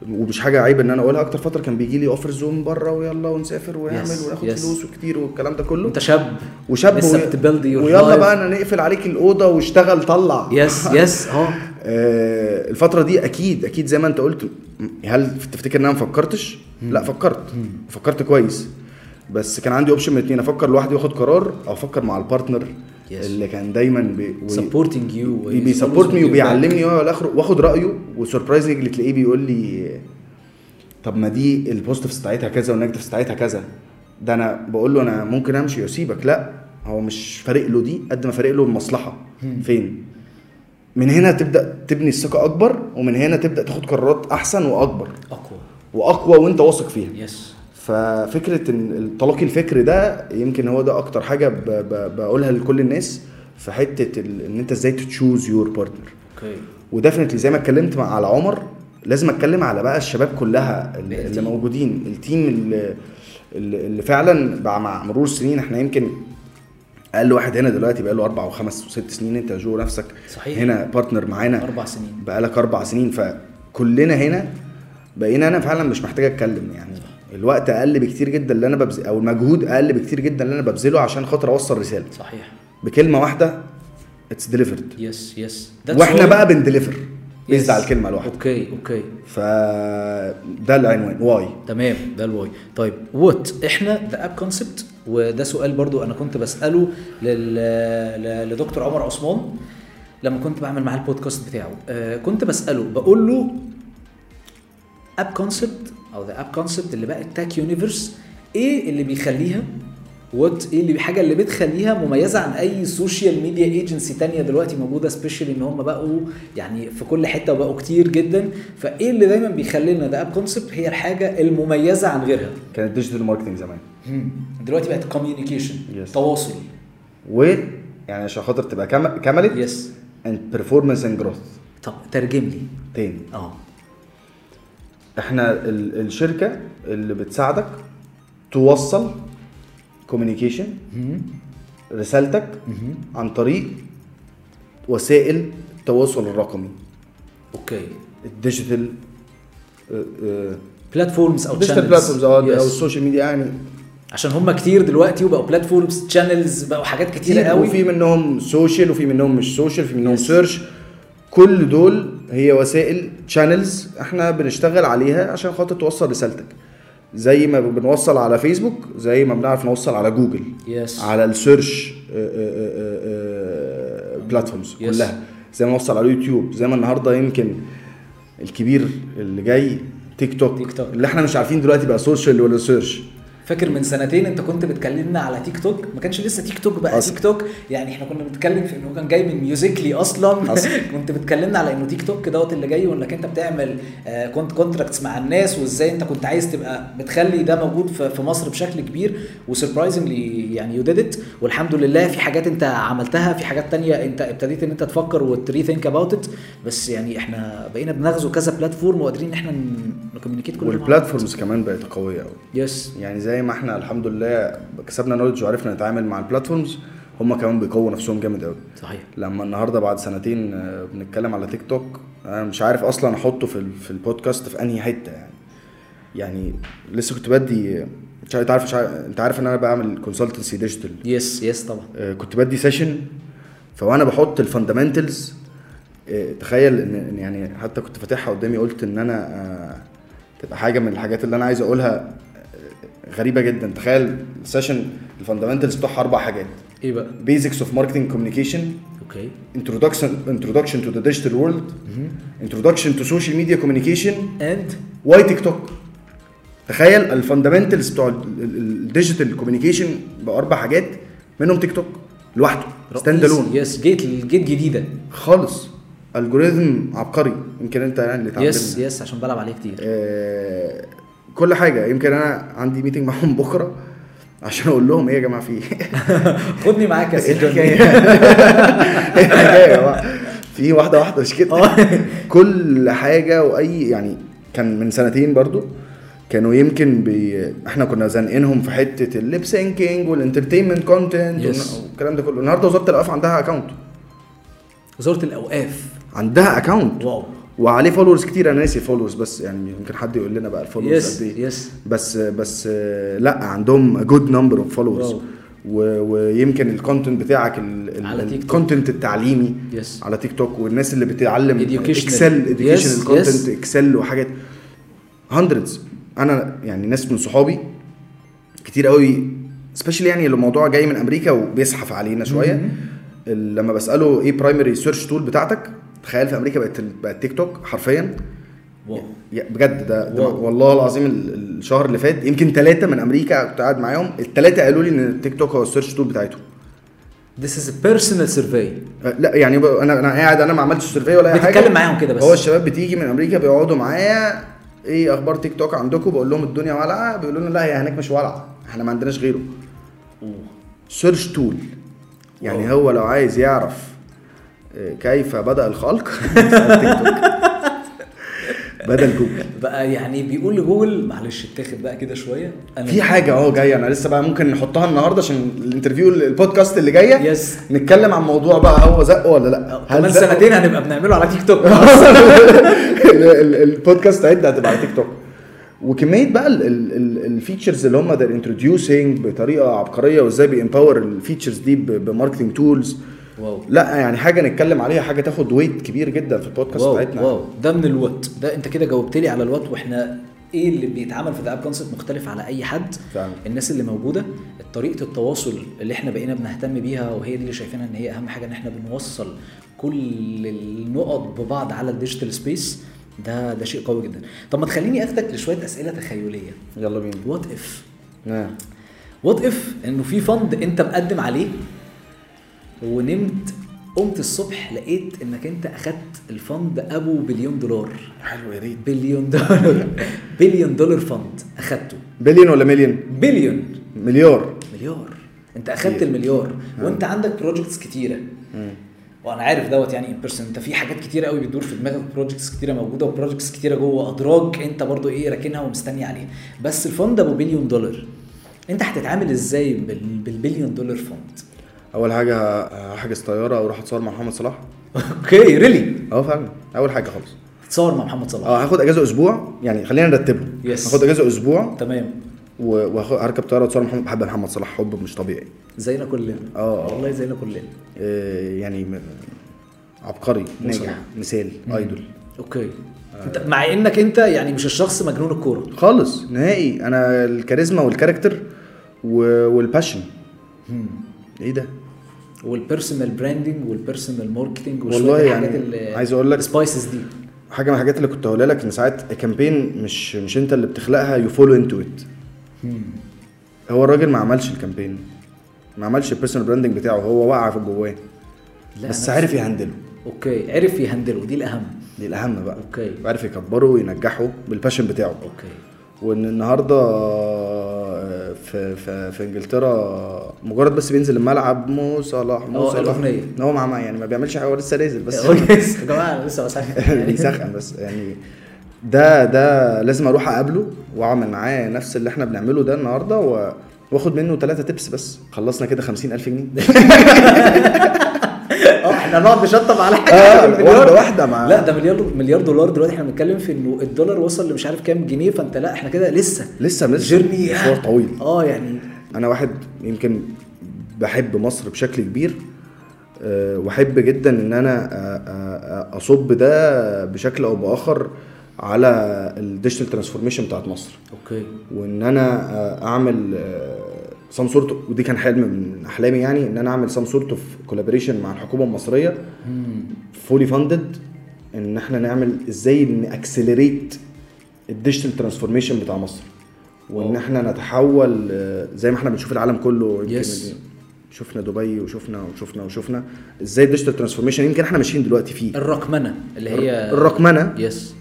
Speaker 2: ومش حاجه عيب ان انا اقولها اكتر فتره كان بيجي لي اوفرز من بره ويلا ونسافر ونعمل
Speaker 1: Yes,
Speaker 2: وناخد
Speaker 1: yes.
Speaker 2: فلوس وكتير والكلام ده كله
Speaker 1: انت شاب
Speaker 2: وشاب
Speaker 1: لسه
Speaker 2: وي-
Speaker 1: بتبلد your
Speaker 2: ويلا
Speaker 1: life.
Speaker 2: بقى انا نقفل عليك الاوضه واشتغل طلع
Speaker 1: يس يس (laughs) اه
Speaker 2: آه، الفترة دي أكيد أكيد زي ما أنت قلت م- هل تفتكر إن أنا ما فكرتش؟ لا فكرت فكرت كويس بس كان عندي أوبشن من اتنين أفكر لوحدي وآخد قرار أو أفكر مع البارتنر
Speaker 1: Yes.
Speaker 2: اللي كان دايما بي
Speaker 1: supporting you
Speaker 2: بيسبورت مي وبيعلمني هو الاخر واخد رايه وسربرايزنج اللي تلاقيه بيقول لي طب ما دي البوزيتيفز بتاعتها كذا والنيجاتيفز بتاعتها كذا ده انا بقول له انا ممكن امشي واسيبك لا هو مش فارق له دي قد ما فارق له المصلحه فين من هنا تبدا تبني الثقه اكبر ومن هنا تبدا تاخد قرارات احسن واكبر
Speaker 1: اقوى
Speaker 2: واقوى وانت واثق فيها
Speaker 1: يس
Speaker 2: ففكره إن تلاقي الفكر ده يمكن هو ده اكتر حاجه ب- ب- بقولها لكل الناس في حته ال- ان انت ازاي تشوز يور بارتنر
Speaker 1: اوكي
Speaker 2: وديفنتلي زي ما اتكلمت مع على عمر لازم اتكلم على بقى الشباب كلها اللي
Speaker 1: التيم.
Speaker 2: اللي موجودين التيم اللي اللي اللي فعلا بقى مع مرور السنين احنا يمكن اقل واحد هنا دلوقتي بقى له اربع وخمس وست سنين انت جو نفسك
Speaker 1: صحيح.
Speaker 2: هنا بارتنر معانا
Speaker 1: اربع سنين
Speaker 2: بقالك اربع سنين فكلنا هنا بقينا انا فعلا مش محتاج اتكلم يعني الوقت اقل بكتير جدا اللي انا ببذل او المجهود اقل بكتير جدا اللي انا ببذله عشان خاطر اوصل رساله
Speaker 1: صحيح
Speaker 2: بكلمه واحده اتس ديليفرد
Speaker 1: يس يس
Speaker 2: واحنا بقى بندليفر بيزد على الكلمه الواحده
Speaker 1: اوكي اوكي
Speaker 2: فده العنوان واي
Speaker 1: تمام ده الواي طيب وات احنا ذا اب كونسبت وده سؤال برضو انا كنت بساله لل... ل- لدكتور عمر عثمان لما كنت بعمل معاه البودكاست بتاعه آه كنت بساله بقول له اب كونسبت او ذا اب كونسبت اللي بقى التاك يونيفرس ايه اللي بيخليها وات ايه اللي الحاجه اللي بتخليها مميزه عن اي سوشيال ميديا ايجنسي تانية دلوقتي موجوده سبيشالي ان هم بقوا يعني في كل حته وبقوا كتير جدا فايه اللي دايما بيخلي لنا ده اب كونسبت هي الحاجه المميزه عن غيرها
Speaker 2: كانت ديجيتال ماركتنج زمان
Speaker 1: دلوقتي بقت كوميونيكيشن
Speaker 2: Yes.
Speaker 1: تواصل
Speaker 2: و يعني عشان خاطر تبقى كم- كملت
Speaker 1: يس
Speaker 2: اند بيرفورمانس اند جروث
Speaker 1: طب ترجم لي
Speaker 2: تاني
Speaker 1: اه
Speaker 2: احنا ال- الشركه اللي بتساعدك توصل كوميونيكيشن رسالتك عن طريق وسائل التواصل الرقمي
Speaker 1: اوكي
Speaker 2: الديجيتال آه،
Speaker 1: بلاتفورمز او
Speaker 2: ديجيتال
Speaker 1: channels.
Speaker 2: بلاتفورمز او
Speaker 1: Yes.
Speaker 2: السوشيال ميديا يعني
Speaker 1: عشان هم كتير دلوقتي وبقوا بلاتفورمز شانلز بقوا حاجات كتيره
Speaker 2: كتير
Speaker 1: قوي
Speaker 2: وفي منهم سوشيال وفي منهم مش سوشيال في منهم
Speaker 1: Yes.
Speaker 2: سيرش كل دول هي وسائل شانلز احنا بنشتغل عليها عشان خاطر توصل رسالتك زي ما بنوصل على فيسبوك زي ما بنعرف نوصل على جوجل
Speaker 1: يس
Speaker 2: على آه، السيرش بلاتفورمز
Speaker 1: Yes.
Speaker 2: آه، كلها زي ما نوصل على اليوتيوب زي ما النهارده يمكن الكبير اللي جاي تيك توك
Speaker 1: تيك توك.
Speaker 2: اللي احنا مش عارفين دلوقتي بقى سوشيال ولا سيرش
Speaker 1: فاكر من سنتين انت كنت بتكلمنا على تيك توك ما كانش لسه تيك توك بقى
Speaker 2: أصلاً.
Speaker 1: تيك توك يعني احنا كنا بنتكلم في انه كان جاي من ميوزيكلي اصلا
Speaker 2: أصلاً.
Speaker 1: (laughs) كنت بتكلمنا على انه تيك توك دوت اللي جاي وانك انت بتعمل آه، كنت كونتراكتس مع الناس وازاي انت كنت عايز تبقى بتخلي ده موجود في في مصر بشكل كبير وسربرايزنجلي يعني يو ديد ات والحمد لله في حاجات انت عملتها في حاجات تانية انت ابتديت ان انت تفكر وتري ثينك اباوت ات بس يعني احنا بقينا بنغزو كذا بلاتفورم وقادرين ان احنا نكوميونيكيت كل
Speaker 2: والبلاتفورمز كمان بقت قويه قوي
Speaker 1: يس
Speaker 2: يعني زي ما احنا الحمد لله كسبنا نولج وعرفنا نتعامل مع البلاتفورمز هم كمان بيقووا نفسهم جامد قوي
Speaker 1: صحيح
Speaker 2: لما النهارده بعد سنتين آه، بنتكلم على تيك توك انا مش عارف اصلا احطه في ال- في البودكاست في انهي حته يعني يعني لسه كنت بدي مش عارف- انت عارف مش عارف- انت عارف ان انا بعمل كونسلتنسي ديجيتال
Speaker 1: يس يس طبعا
Speaker 2: آه، كنت بدي سيشن فوانا بحط الفاندامنتلز تخيل ان إن يعني حتى كنت فاتحها قدامي قلت ان انا آه، تبقى حاجه من الحاجات اللي انا عايز اقولها آه، غريبه جدا تخيل السيشن الفاندامنتلز بتاعها اربع حاجات
Speaker 1: ايه بقى
Speaker 2: بيزكس اوف ماركتنج كوميونيكيشن
Speaker 1: اوكي
Speaker 2: introduction introduction to the digital world introduction to social media communication
Speaker 1: اند
Speaker 2: why TikTok تخيل الفاندامنتلز بتوع الديجيتال كوميونيكيشن باربع حاجات منهم تيك توك لوحده ستاند الون
Speaker 1: يس جيت جيت جديده
Speaker 2: خالص الجوريزم عبقري يمكن انت يعني اللي اتعلمنا
Speaker 1: يس يس عشان بلعب عليه كتير
Speaker 2: آه، كل حاجه يمكن انا عندي ميتنج معاهم بكره عشان اقول لهم ايه يا جماعه في إيه؟
Speaker 1: (laughs) خدني معاك يا
Speaker 2: ايه
Speaker 1: سيدي
Speaker 2: الحكايه
Speaker 1: (laughs)
Speaker 2: ايه الحكايه يا جماعة؟ (laughs) في واحده واحده مش كده
Speaker 1: آه.
Speaker 2: كل حاجه واي يعني كان من سنتين برضو كانوا يمكن بي... احنا كنا زانقينهم في حته الليب سينكينج والانترتينمنت كونتنت
Speaker 1: Yes.
Speaker 2: والكلام ده كله النهارده وزاره الاوقاف عندها اكونت
Speaker 1: وزاره الاوقاف
Speaker 2: عندها اكونت
Speaker 1: واو
Speaker 2: وعليه فولورز كتير انا ناسي فولورز بس يعني يمكن حد يقول لنا بقى الفولورز
Speaker 1: يس
Speaker 2: قد ايه
Speaker 1: يس
Speaker 2: بس بس آه، لا عندهم جود نمبر اوف فولورز
Speaker 1: واو.
Speaker 2: ويمكن الكونتنت بتاعك
Speaker 1: على تيك توك.
Speaker 2: الكونتنت التعليمي
Speaker 1: Yes.
Speaker 2: على تيك توك والناس اللي بتتعلم
Speaker 1: Educational.
Speaker 2: اكسل
Speaker 1: Yes,
Speaker 2: educational
Speaker 1: yes.
Speaker 2: كونتنت اكسل وحاجات هندردز انا يعني ناس من صحابي كتير قوي سبيشالي يعني لو الموضوع جاي من امريكا وبيزحف علينا شويه ال- لما بساله ايه برايمري سيرش تول بتاعتك تخيل في امريكا بقت بقت تيك توك حرفيا
Speaker 1: واو
Speaker 2: يا- بجد ده, ده
Speaker 1: واو.
Speaker 2: والله العظيم ال- الشهر اللي فات يمكن ثلاثة من أمريكا كنت قاعد معاهم الثلاثة قالوا لي إن التيك توك هو السيرش تول بتاعتهم
Speaker 1: This is a personal survey
Speaker 2: آه، لا يعني ب- انا انا قاعد انا ما عملتش سيرفي ولا اي حاجه
Speaker 1: بتتكلم معاهم كده بس.
Speaker 2: هو الشباب بتيجي من امريكا بيقعدوا معايا ايه اخبار تيك توك عندكم بقول لهم الدنيا ولعه بيقولوا لنا لا هي هناك مش ولعه احنا ما عندناش غيره سيرش تول يعني
Speaker 1: واو.
Speaker 2: هو لو عايز يعرف آه، كيف بدا الخلق (laughs) يسأل تيك توك بدل جوجل
Speaker 1: بقى يعني بيقول لجوجل معلش اتاخد بقى كده شويه انا
Speaker 2: في حاجه اه جايه انا لسه بقى ممكن نحطها النهارده عشان الانترفيو البودكاست اللي جايه
Speaker 1: يس
Speaker 2: نتكلم عن موضوع بقى هو زقه ولا لا
Speaker 1: آه،
Speaker 2: هل
Speaker 1: كمان
Speaker 2: زقه؟
Speaker 1: سنتين هنبقى بنعمله على تيك توك
Speaker 2: (laughs) ال- ال- البودكاست عدة هتبقى على تيك توك وكميه بقى الفيتشرز اللي هم ده انتروديوسنج بطريقه عبقريه وازاي بيمباور الفيتشرز دي بماركتنج تولز
Speaker 1: واو
Speaker 2: لا يعني حاجه نتكلم عليها حاجه تاخد ويت كبير جدا في البودكاست
Speaker 1: واو
Speaker 2: بتاعتنا
Speaker 1: واو ده من الوات ده انت كده جاوبت لي على الوات واحنا ايه اللي بيتعمل في ذا اب كونسبت مختلف على اي حد
Speaker 2: فعلا.
Speaker 1: الناس اللي موجوده طريقه التواصل اللي احنا بقينا بنهتم بيها وهي دي اللي شايفينها ان هي اهم حاجه ان احنا بنوصل كل النقط ببعض على الديجيتال سبيس ده ده شيء قوي جدا طب ما تخليني اخدك لشويه اسئله تخيليه
Speaker 2: يلا بينا
Speaker 1: وات اف
Speaker 2: نعم.
Speaker 1: وات اف انه في فند انت مقدم عليه ونمت قمت الصبح لقيت انك انت اخدت الفند ابو بليون دولار
Speaker 2: حلو يا ريت
Speaker 1: بليون دولار (laughs) بليون دولار فند اخدته
Speaker 2: بليون ولا مليون
Speaker 1: بليون
Speaker 2: مليار
Speaker 1: مليار انت اخدت المليار وانت عندك بروجكتس كتيره وانا عارف دوت يعني ان بيرسون انت في حاجات كتيره قوي بتدور في دماغك بروجكتس كتيره موجوده وبروجكتس كتيره جوه ادراج انت برضو ايه راكنها ومستني عليها بس الفند ابو بليون دولار انت هتتعامل ازاي بال- بالبليون دولار (laughs) فند
Speaker 2: اول حاجه هحجز طياره واروح اتصور مع محمد صلاح
Speaker 1: اوكي ريلي
Speaker 2: اه فعلا اول حاجه خالص
Speaker 1: تصور مع محمد صلاح
Speaker 2: اه هاخد اجازه اسبوع يعني خلينا نرتبهم
Speaker 1: Yes.
Speaker 2: هاخد اجازه اسبوع
Speaker 1: تمام
Speaker 2: وهركب طياره واتصور مع محمد بحب محمد صلاح حب مش طبيعي
Speaker 1: زينا كلنا
Speaker 2: آه.
Speaker 1: والله زينا كلنا
Speaker 2: آه، يعني م- عبقري ناجح مثال ايدول
Speaker 1: اوكي
Speaker 2: آه.
Speaker 1: انت مع انك انت يعني مش الشخص مجنون الكوره
Speaker 2: خالص نهائي انا الكاريزما والكاركتر و- والباشن ايه ده
Speaker 1: والبيرسونال براندنج والبيرسونال ماركتنج
Speaker 2: والله
Speaker 1: والشويه
Speaker 2: يعني
Speaker 1: الحاجات اللي
Speaker 2: عايز أقول لك-
Speaker 1: سبايسز دي
Speaker 2: حاجه من الحاجات اللي كنت هقولها لك ان ساعات كامبين مش مش انت اللي بتخلقها يو فولو انتو ات هو الراجل ما عملش الكامبين ما عملش البيرسونال براندنج بتاعه هو وقع في جواه
Speaker 1: لا،
Speaker 2: بس
Speaker 1: نفسه.
Speaker 2: عارف يهندله
Speaker 1: اوكي عرف يهندله دي الاهم
Speaker 2: دي الاهم بقى
Speaker 1: اوكي.
Speaker 2: وعارف يكبره وينجحه بالباشن بتاعه
Speaker 1: اوكي
Speaker 2: وان النهارده آه، في في في انجلترا مجرد بس بينزل الملعب مو صلاح مو
Speaker 1: اه،
Speaker 2: صلاح
Speaker 1: الأغنية.
Speaker 2: ان هو مع مع- يعني ما بيعملش حاجه هو لسه نازل بس
Speaker 1: (laughs) اوكي يا جماعه انا لسه
Speaker 2: (laughs)
Speaker 1: بسخن يعني. (laughs)
Speaker 2: بيسخن بس يعني ده ده لازم اروح اقابله واعمل معاه نفس اللي احنا بنعمله ده النهارده و- واخد منه ثلاثة تبس بس خلصنا كده 50000 جنيه (laughs)
Speaker 1: اه احنا نقعد نشطب على حاجه (laughs)
Speaker 2: آه،
Speaker 1: بالمليار.
Speaker 2: واحدة- واحدة مع-
Speaker 1: لا ده مليار مليار دولار دلوقتي احنا بنتكلم في انه الدولار وصل لمش عارف كام جنيه فانت لا احنا كده لسه (laughs)
Speaker 2: لسه لسه
Speaker 1: جيرني
Speaker 2: مشوار طويل
Speaker 1: اه يعني
Speaker 2: انا واحد يمكن بحب مصر بشكل كبير أه، واحب جدا ان انا أ- أ- أ- اصب آه، ده بشكل او باخر على الديجيتال ترانسفورميشن بتاعت مصر
Speaker 1: اوكي
Speaker 2: وان انا أه، اعمل سام سورت ودي كان حلم من احلامي يعني ان انا اعمل سام سورت اوف كولابوريشن مع الحكومه المصريه فولي فاندد ان احنا نعمل ازاي ناكسلريت الديجيتال ترانسفورميشن بتاع مصر وان
Speaker 1: واو.
Speaker 2: احنا نتحول آه، زي ما احنا بنشوف العالم كله يمكن
Speaker 1: Yes.
Speaker 2: شفنا دبي وشفنا وشفنا وشفنا ازاي الديجيتال ترانسفورميشن يمكن احنا ماشيين دلوقتي فيه
Speaker 1: الرقمنه اللي هي
Speaker 2: الرقمنه
Speaker 1: يس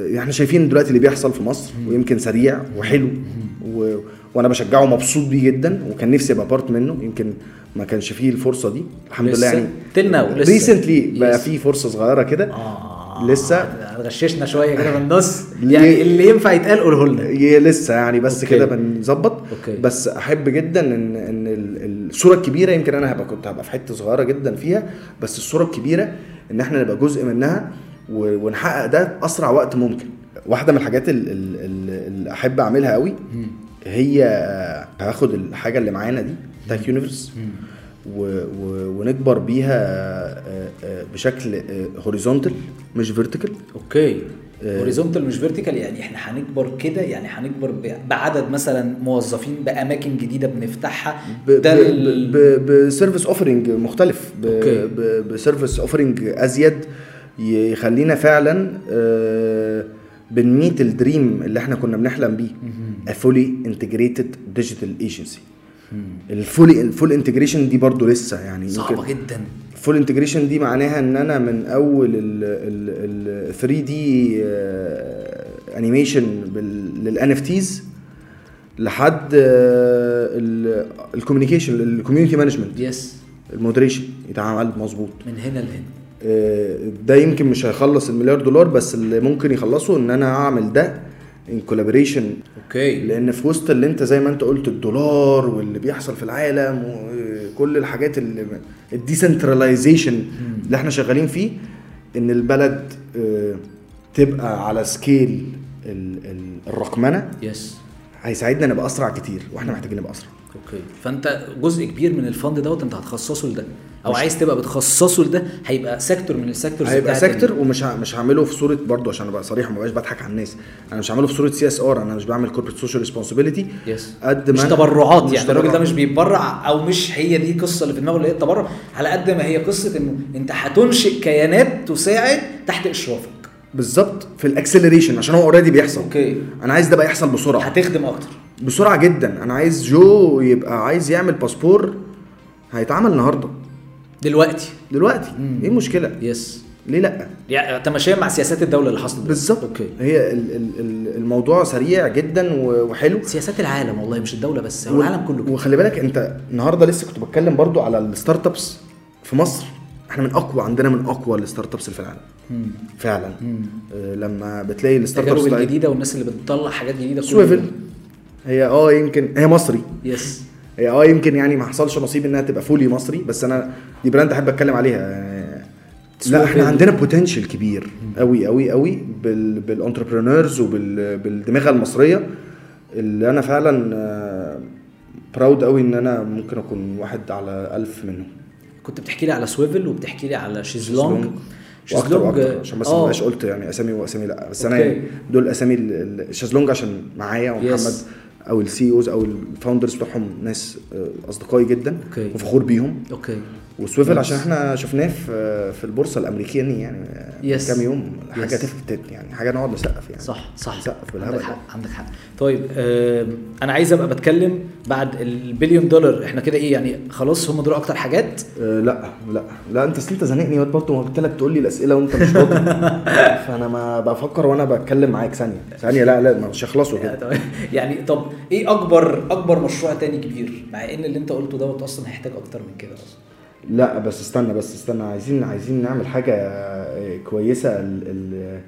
Speaker 2: آه، احنا شايفين دلوقتي اللي بيحصل في مصر ويمكن سريع وحلو و... وانا بشجعه ومبسوط بيه جدا وكان نفسي ابقى بارت منه يمكن ما كانش فيه الفرصه دي الحمد لله
Speaker 1: لسه.
Speaker 2: يعني
Speaker 1: Till now، لسه.
Speaker 2: ريسنتلي بقى
Speaker 1: Yes.
Speaker 2: في فرصه صغيره كده
Speaker 1: اه
Speaker 2: لسه
Speaker 1: غششنا شويه كده من النص
Speaker 2: ليه؟
Speaker 1: يعني اللي ينفع يتقال قوله لنا
Speaker 2: هي لسه يعني بس
Speaker 1: أوكي.
Speaker 2: كده بنظبط
Speaker 1: أوكي.
Speaker 2: بس احب جدا ان ان ال- الصوره الكبيره يمكن انا هبقى كنت هبقى في حته صغيره جدا فيها بس الصوره الكبيره ان احنا نبقى جزء منها و- ونحقق ده اسرع وقت ممكن واحده من الحاجات ال- ال- ال- اللي احب اعملها قوي هي هاخد الحاجه اللي معانا دي بتاعت يونيفرس و... و... ونكبر بيها آه، آه، بشكل هوريزونتال مش فيرتيكال
Speaker 1: اوكي
Speaker 2: آه.
Speaker 1: هوريزونتال مش فيرتيكال يعني احنا هنكبر كده يعني هنكبر ب- بعدد مثلا موظفين باماكن جديده بنفتحها
Speaker 2: ب-
Speaker 1: ده
Speaker 2: ب-
Speaker 1: ال-
Speaker 2: ب- بسيرفيس اوفرنج مختلف ب-
Speaker 1: أوكي.
Speaker 2: ب- بسيرفيس اوفرنج ازيد يخلينا فعلا آه، بنميت الدريم اللي احنا كنا بنحلم بيه فولي انتجريتد ديجيتال ايجنسي الفول الفول انتجريشن دي برضو لسه يعني
Speaker 1: صعبه جدا
Speaker 2: فول انتجريشن دي معناها ان انا من اول ال آه، 3 دي انيميشن للان اف تيز لحد آه، الكوميونيكيشن الكوميونتي مانجمنت
Speaker 1: يس
Speaker 2: المودريشن يتعامل مظبوط
Speaker 1: من هنا لهنا
Speaker 2: آه، ده يمكن مش هيخلص المليار دولار بس اللي ممكن يخلصه ان انا اعمل ده ان كولابوريشن
Speaker 1: اوكي
Speaker 2: لان في وسط اللي انت زي ما انت قلت الدولار واللي بيحصل في العالم وكل الحاجات اللي الديسنتراليزيشن اللي احنا شغالين فيه ان البلد آه، تبقى على سكيل ال- ال- الرقمنه
Speaker 1: يس
Speaker 2: هيساعدنا نبقى اسرع كتير واحنا محتاجين نبقى اسرع
Speaker 1: اوكي فانت جزء كبير من الفند دوت انت هتخصصه لده او عايز تبقى بتخصصه لده هيبقى سيكتور من السيكتورز
Speaker 2: هيبقى
Speaker 1: بتاعت ال-
Speaker 2: سيكتور ومش ه- مش هعمله في صوره برضه عشان ابقى صريح وما بقاش بضحك على الناس انا مش هعمله في صوره سي اس ار انا مش بعمل كوربريت سوشيال ريسبونسبيلتي
Speaker 1: يس
Speaker 2: قد ما
Speaker 1: مش
Speaker 2: أنا-
Speaker 1: تبرعات
Speaker 2: مش
Speaker 1: يعني الراجل ده
Speaker 2: تبرعات.
Speaker 1: مش بيتبرع او مش هي دي القصه اللي في دماغه اللي هي التبرع على قد ما هي قصه انه انت هتنشئ كيانات تساعد تحت اشرافك
Speaker 2: بالظبط في الاكسلريشن عشان هو اوريدي بيحصل
Speaker 1: اوكي.
Speaker 2: انا عايز ده بقى يحصل بسرعه
Speaker 1: هتخدم اكتر
Speaker 2: بسرعه جدا انا عايز جو يبقى عايز يعمل باسبور هيتعمل النهارده
Speaker 1: دلوقتي
Speaker 2: دلوقتي ايه المشكله
Speaker 1: يس
Speaker 2: ليه لا
Speaker 1: يعني تماشيا مع سياسات الدوله اللي حصلت
Speaker 2: بالظبط
Speaker 1: اوكي
Speaker 2: هي ال- ال- ال- الموضوع سريع جدا و- وحلو
Speaker 1: سياسات العالم والله مش الدوله بس هو
Speaker 2: و-
Speaker 1: العالم كله كده.
Speaker 2: وخلي بالك انت النهارده لسه كنت بتكلم برضو على الستارت ابس في مصر احنا من اقوى عندنا من اقوى الستارت ابس في العالم
Speaker 1: مم.
Speaker 2: فعلا آه، لما بتلاقي طيب. الستارت ابس
Speaker 1: التجارب
Speaker 2: بتاعت
Speaker 1: الجديده والناس اللي بتطلع حاجات جديده كل
Speaker 2: سويفل
Speaker 1: يوم.
Speaker 2: هي اه يمكن هي مصري
Speaker 1: يس
Speaker 2: هي اه يمكن يعني ما حصلش نصيب انها تبقى فولي مصري بس انا دي براند احب اتكلم عليها آه، لا
Speaker 1: سويفل.
Speaker 2: احنا عندنا بوتنشال كبير قوي قوي قوي بال بالانتربرينورز وبالدماغه المصريه اللي آه، انا فعلا براود قوي ان انا ممكن اكون واحد على ألف منهم
Speaker 1: كنت بتحكي لي على سويفل وبتحكي لي على شيزلونج
Speaker 2: واكتر واكتر
Speaker 1: آه،
Speaker 2: عشان بس
Speaker 1: آه،
Speaker 2: ما بقاش قلت يعني اسامي واسامي لا بس انا
Speaker 1: أوكي.
Speaker 2: يعني دول اسامي ال- ال- الشازلونج عشان معايا ومحمد
Speaker 1: Yes.
Speaker 2: او السي اوز او الفاوندرز بتوعهم ناس آه، اصدقائي جدا
Speaker 1: أوكي.
Speaker 2: وفخور بيهم
Speaker 1: اوكي
Speaker 2: وسويفل
Speaker 1: Nice.
Speaker 2: عشان احنا شفناه في في البورصه الامريكيه يعني من
Speaker 1: Yes.
Speaker 2: كام يوم حاجه
Speaker 1: Yes.
Speaker 2: تفت يعني حاجه نقعد نسقف يعني
Speaker 1: صح صح
Speaker 2: نسقف
Speaker 1: عندك
Speaker 2: بالهبل
Speaker 1: حق عندك حق طيب آم، انا عايز ابقى بتكلم بعد البليون دولار احنا كده ايه يعني خلاص هم دول اكتر حاجات
Speaker 2: أه لا لا لا انت اصل انت زنقني وقت برضه ما قلت لك تقول لي الاسئله وانت مش فاضي
Speaker 1: (laughs)
Speaker 2: فانا ما بفكر وانا بتكلم معاك ثانيه ثانيه لا لا مش هيخلصوا كده
Speaker 1: يعني طب ايه اكبر اكبر مشروع تاني كبير مع ان اللي انت قلته دوت اصلا هيحتاج اكتر من كده اصلا
Speaker 2: لا بس استنى بس استنى عايزين عايزين نعمل حاجة آه، كويسة ال- ال-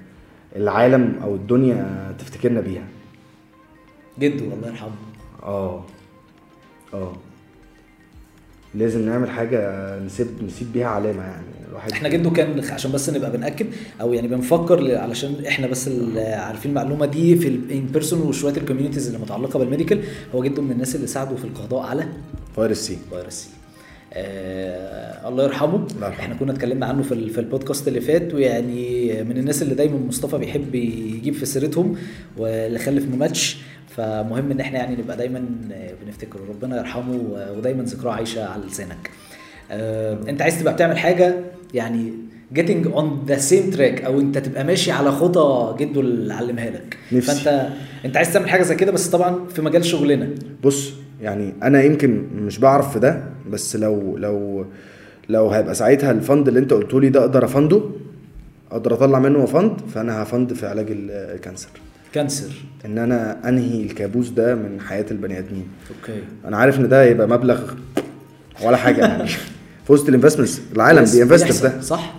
Speaker 2: العالم أو الدنيا تفتكرنا بيها
Speaker 1: جده الله يرحمه
Speaker 2: اه اه لازم نعمل حاجة نسيب نسيب بيها علامة يعني الواحد
Speaker 1: احنا جده كان عشان بس نبقى بناكد او يعني بنفكر ل- علشان احنا بس ال- عارفين المعلومه دي في الان بيرسون وشويه الكوميونيتيز اللي متعلقه بالميديكال هو جده من الناس اللي ساعدوا في القضاء على
Speaker 2: فايروس سي
Speaker 1: فيروس سي آه الله يرحمه
Speaker 2: الله يرحمه.
Speaker 1: احنا كنا اتكلمنا عنه في, ال- في البودكاست اللي فات ويعني من الناس اللي دايما مصطفى بيحب يجيب في سيرتهم واللي خلف ما ماتش فمهم ان احنا يعني نبقى دايما آه، بنفتكره ربنا يرحمه و- ودايما ذكراه عايشه على لسانك آه انت عايز تبقى بتعمل حاجه يعني getting on the same track او انت تبقى ماشي على خطى جده اللي علمها لك
Speaker 2: نفسي.
Speaker 1: فانت انت عايز تعمل حاجه زي كده بس طبعا في مجال شغلنا
Speaker 2: بص يعني أنا يمكن مش بعرف في ده بس لو لو لو هيبقى ساعتها الفند اللي أنت قلته لي ده أقدر أفنده أقدر أطلع منه فند فأنا هفند في علاج ال- الكانسر
Speaker 1: كانسر
Speaker 2: ان انا انهي الكابوس ده من حياه البني ادمين
Speaker 1: اوكي
Speaker 2: انا عارف ان ده هيبقى مبلغ ولا حاجه
Speaker 1: (laughs)
Speaker 2: يعني في وسط الانفستمنتس العالم
Speaker 1: بس
Speaker 2: بينفست في
Speaker 1: بيحصل،
Speaker 2: ده
Speaker 1: صح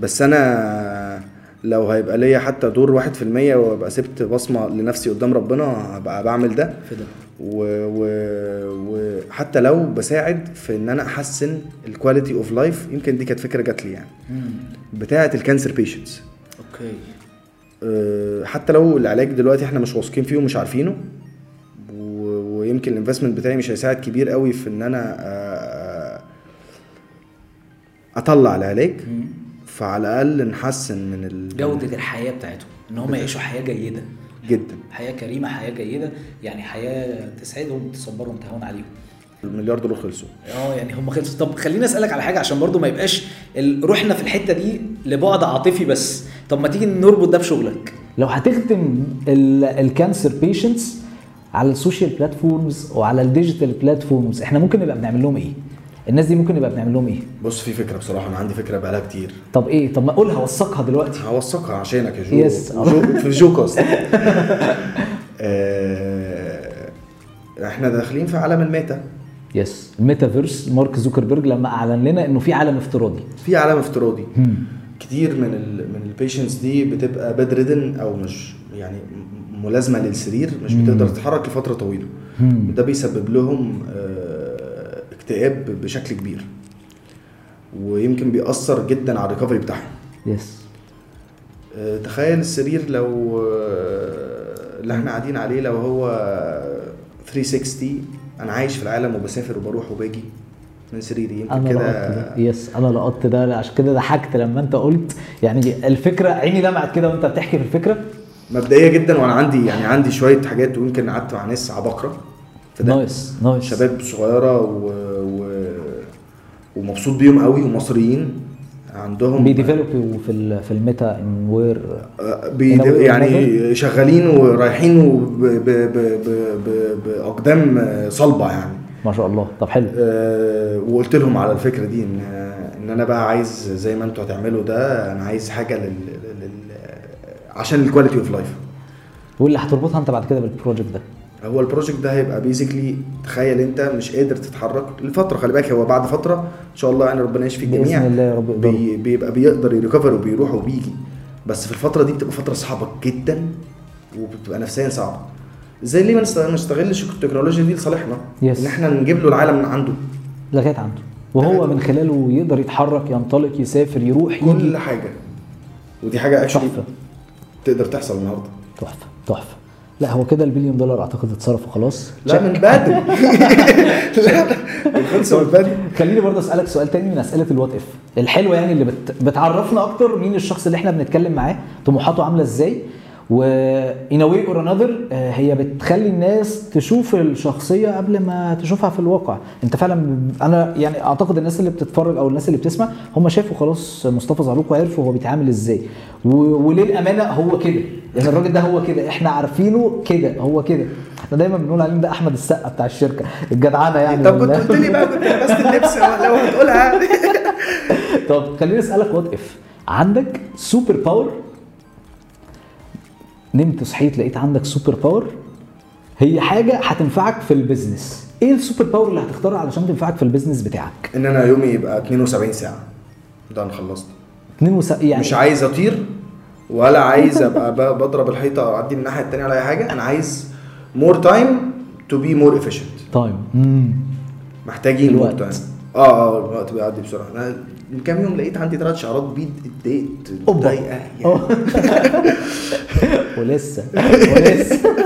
Speaker 2: بس انا لو هيبقى ليا حتى دور 1% وابقى سبت بصمه لنفسي قدام ربنا هبقى بعمل ده
Speaker 1: في ده
Speaker 2: و... و... وحتى لو بساعد في ان انا احسن الكواليتي اوف لايف يمكن دي كانت فكره جات لي يعني بتاعه الكانسر بيشنتس
Speaker 1: اوكي
Speaker 2: أه، حتى لو العلاج دلوقتي احنا مش واثقين فيه ومش عارفينه و- ويمكن الانفستمنت بتاعي مش هيساعد كبير قوي في ان انا آه، أه، اطلع العلاج فعلى الاقل نحسن من ال...
Speaker 1: جوده الحياه بتاعتهم ان هم يعيشوا حياه جيده
Speaker 2: جدا
Speaker 1: حياه كريمه حياه جيده يعني حياه تسعدهم تصبرهم تهون عليهم
Speaker 2: المليار دولار خلصوا
Speaker 1: اه يعني هم خلصوا طب خليني اسالك على حاجه عشان برضو ما يبقاش ال- روحنا في الحته دي لبعد عاطفي بس طب ما تيجي نربط ده بشغلك لو هتخدم الكانسر بيشنتس على السوشيال بلاتفورمز وعلى الديجيتال بلاتفورمز احنا ممكن نبقى بنعمل لهم ايه الناس دي ممكن نبقى بنعمل لهم ايه
Speaker 2: بص في فكره بصراحه انا عندي فكره بقالها كتير
Speaker 1: طب ايه طب ما اقولها وثقها دلوقتي
Speaker 2: هوثقها عشانك يا جو
Speaker 1: يس.
Speaker 2: وجو- (laughs) في جو كاست آه، احنا داخلين في عالم الميتا
Speaker 1: يس الميتافيرس مارك زوكربيرج لما اعلن لنا انه في عالم افتراضي
Speaker 2: في عالم افتراضي
Speaker 1: هم.
Speaker 2: كتير من ال من البيشنتس دي بتبقى باد ريدن او مش يعني م- ملازمه للسرير مش بتقدر تتحرك لفتره طويله
Speaker 1: هم.
Speaker 2: وده بيسبب لهم آه، اكتئاب بشكل كبير ويمكن بيأثر جدا على الريكفري بتاعهم
Speaker 1: يس
Speaker 2: آه، تخيل السرير لو آه، اللي احنا قاعدين عليه لو هو 360 انا عايش في العالم وبسافر وبروح وباجي من سريري يمكن
Speaker 1: انا
Speaker 2: كده
Speaker 1: لقطت ده يس انا لقطت ده لا، عشان كده ضحكت لما انت قلت يعني الفكره عيني لمعت كده وانت بتحكي في الفكره
Speaker 2: مبدئيه جدا وانا عندي يعني عندي شويه حاجات ويمكن قعدت مع ناس عباقره في ده
Speaker 1: نايس نايس
Speaker 2: شباب صغيره و... و... ومبسوط بيهم قوي ومصريين عندهم
Speaker 1: بيديفلوب في ال- في الميتا ان وير
Speaker 2: آه، بيد...
Speaker 1: إنه-
Speaker 2: يعني شغالين ورايحين وب... ب... ب... ب... ب... باقدام آه، صلبه يعني
Speaker 1: ما شاء الله طب حلو
Speaker 2: آه، وقلت لهم على الفكره دي ان ان انا بقى عايز زي ما انتوا هتعملوا ده انا عايز حاجه لل, لل... عشان الكواليتي اوف لايف
Speaker 1: واللي هتربطها انت بعد كده بالبروجكت ده
Speaker 2: هو البروجكت ده هيبقى بيزيكلي تخيل انت مش قادر تتحرك لفتره خلي بالك هو بعد فتره ان شاء الله يعني ربنا يشفي
Speaker 1: بإذن
Speaker 2: الجميع
Speaker 1: الله يا رب يقدروا.
Speaker 2: بي بيبقى بيقدر يريكفر وبيروح وبيجي بس في الفتره دي بتبقى فتره صعبه جدا وبتبقى نفسيا صعبه ازاي ليه ما نست- ما نستغلش التكنولوجيا دي لصالحنا
Speaker 1: Yes.
Speaker 2: ان احنا نجيب له العالم من عنده
Speaker 1: لغايه عنده وهو من خلاله يقدر يتحرك ينطلق يسافر يروح يجي
Speaker 2: كل حاجه ودي حاجه اكشلي
Speaker 1: تحفه
Speaker 2: تقدر تحصل النهارده
Speaker 1: تحفه تحفه لا هو كده البليون دولار اعتقد اتصرف وخلاص
Speaker 2: لا من
Speaker 1: (laughs)
Speaker 2: بدري لا خلصوا من بدري
Speaker 1: خليني برضه اسالك سؤال تاني من اسئله الوات اف الحلوه يعني اللي بت... بتعرفنا اكتر مين الشخص اللي احنا بنتكلم معاه طموحاته عامله ازاي و in a way or another آه، هي بتخلي الناس تشوف الشخصيه قبل ما تشوفها في الواقع انت فعلا انا يعني اعتقد الناس اللي بتتفرج او الناس اللي بتسمع هم شافوا خلاص مصطفى زعلوك وعرفوا هو بيتعامل ازاي و... وليه الامانه هو كده يعني الراجل ده هو كده احنا عارفينه كده هو كده احنا دايما بنقول عليه ده احمد السقا بتاع الشركه الجدعانه يعني
Speaker 2: طب كنت
Speaker 1: والله.
Speaker 2: قلت لي
Speaker 1: (laughs)
Speaker 2: بقى كنت لبست اللبس لو هتقولها
Speaker 1: طب خليني اسالك وات اف عندك سوبر باور نمت صحيت لقيت عندك سوبر باور هي حاجه هتنفعك في البيزنس ايه السوبر باور اللي هتختارها علشان تنفعك في البيزنس بتاعك
Speaker 2: ان انا يومي يبقى 72 ساعه ده انا خلصت
Speaker 1: اتنين وس... يعني
Speaker 2: مش عايز اطير ولا عايز ابقى ب- بضرب الحيطه او اعدي من الناحيه التانيه ولا اي حاجه انا عايز مور تايم تو بي مور افيشنت
Speaker 1: تايم مم.
Speaker 2: محتاجين مور
Speaker 1: الوقت.
Speaker 2: تايم اه اه الوقت بيعدي بسرعه انا من كام يوم لقيت عندي ثلاث شعرات بيض اتضايقت
Speaker 1: أوبا.
Speaker 2: متضايقة يعني.
Speaker 1: طيب. (laughs) أوه. ولسه ولسه (laughs)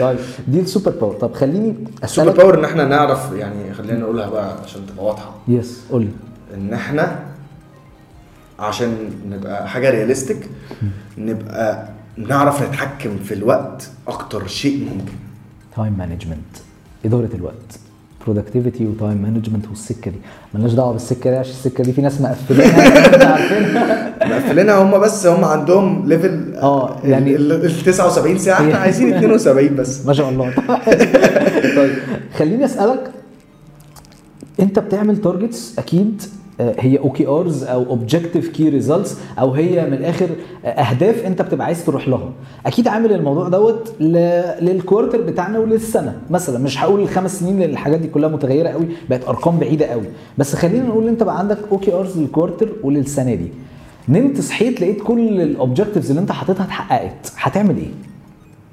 Speaker 1: طيب دي السوبر باور طب خليني
Speaker 2: السوبر
Speaker 1: اسالك
Speaker 2: باور ان احنا نعرف يعني خلينا نقولها بقى عشان تبقى واضحه
Speaker 1: يس قول لي
Speaker 2: ان احنا عشان نبقى حاجه رياليستيك نبقى نعرف نتحكم في الوقت اكتر شيء ممكن
Speaker 1: تايم مانجمنت اداره الوقت برودكتيفيتي وتايم مانجمنت والسكه دي ملناش دعوه بالسكه دي عشان السكه دي في ناس مقفلينها إحنا عارفينها.
Speaker 2: مقفلينها هم بس هم عندهم ليفل
Speaker 1: آه،
Speaker 2: ال-
Speaker 1: يعني-
Speaker 2: ال ال 79
Speaker 1: (laughs)
Speaker 2: ساعه احنا عايزين 72 بس
Speaker 1: ما شاء الله طيب خليني اسالك انت بتعمل تارجتس اكيد آه، هي او كي ارز او اوبجكتيف كي ريزلتس او هي من الاخر آه، اهداف انت بتبقى عايز تروح لها اكيد عامل الموضوع دوت ل... للكوارتر بتاعنا وللسنه مثلا مش هقول الخمس سنين لان الحاجات دي كلها متغيره قوي بقت ارقام بعيده قوي بس خلينا نقول انت بقى عندك او كي ارز للكوارتر وللسنه دي نمت صحيت لقيت كل الاوبجكتيفز اللي انت حاططها اتحققت هتعمل ايه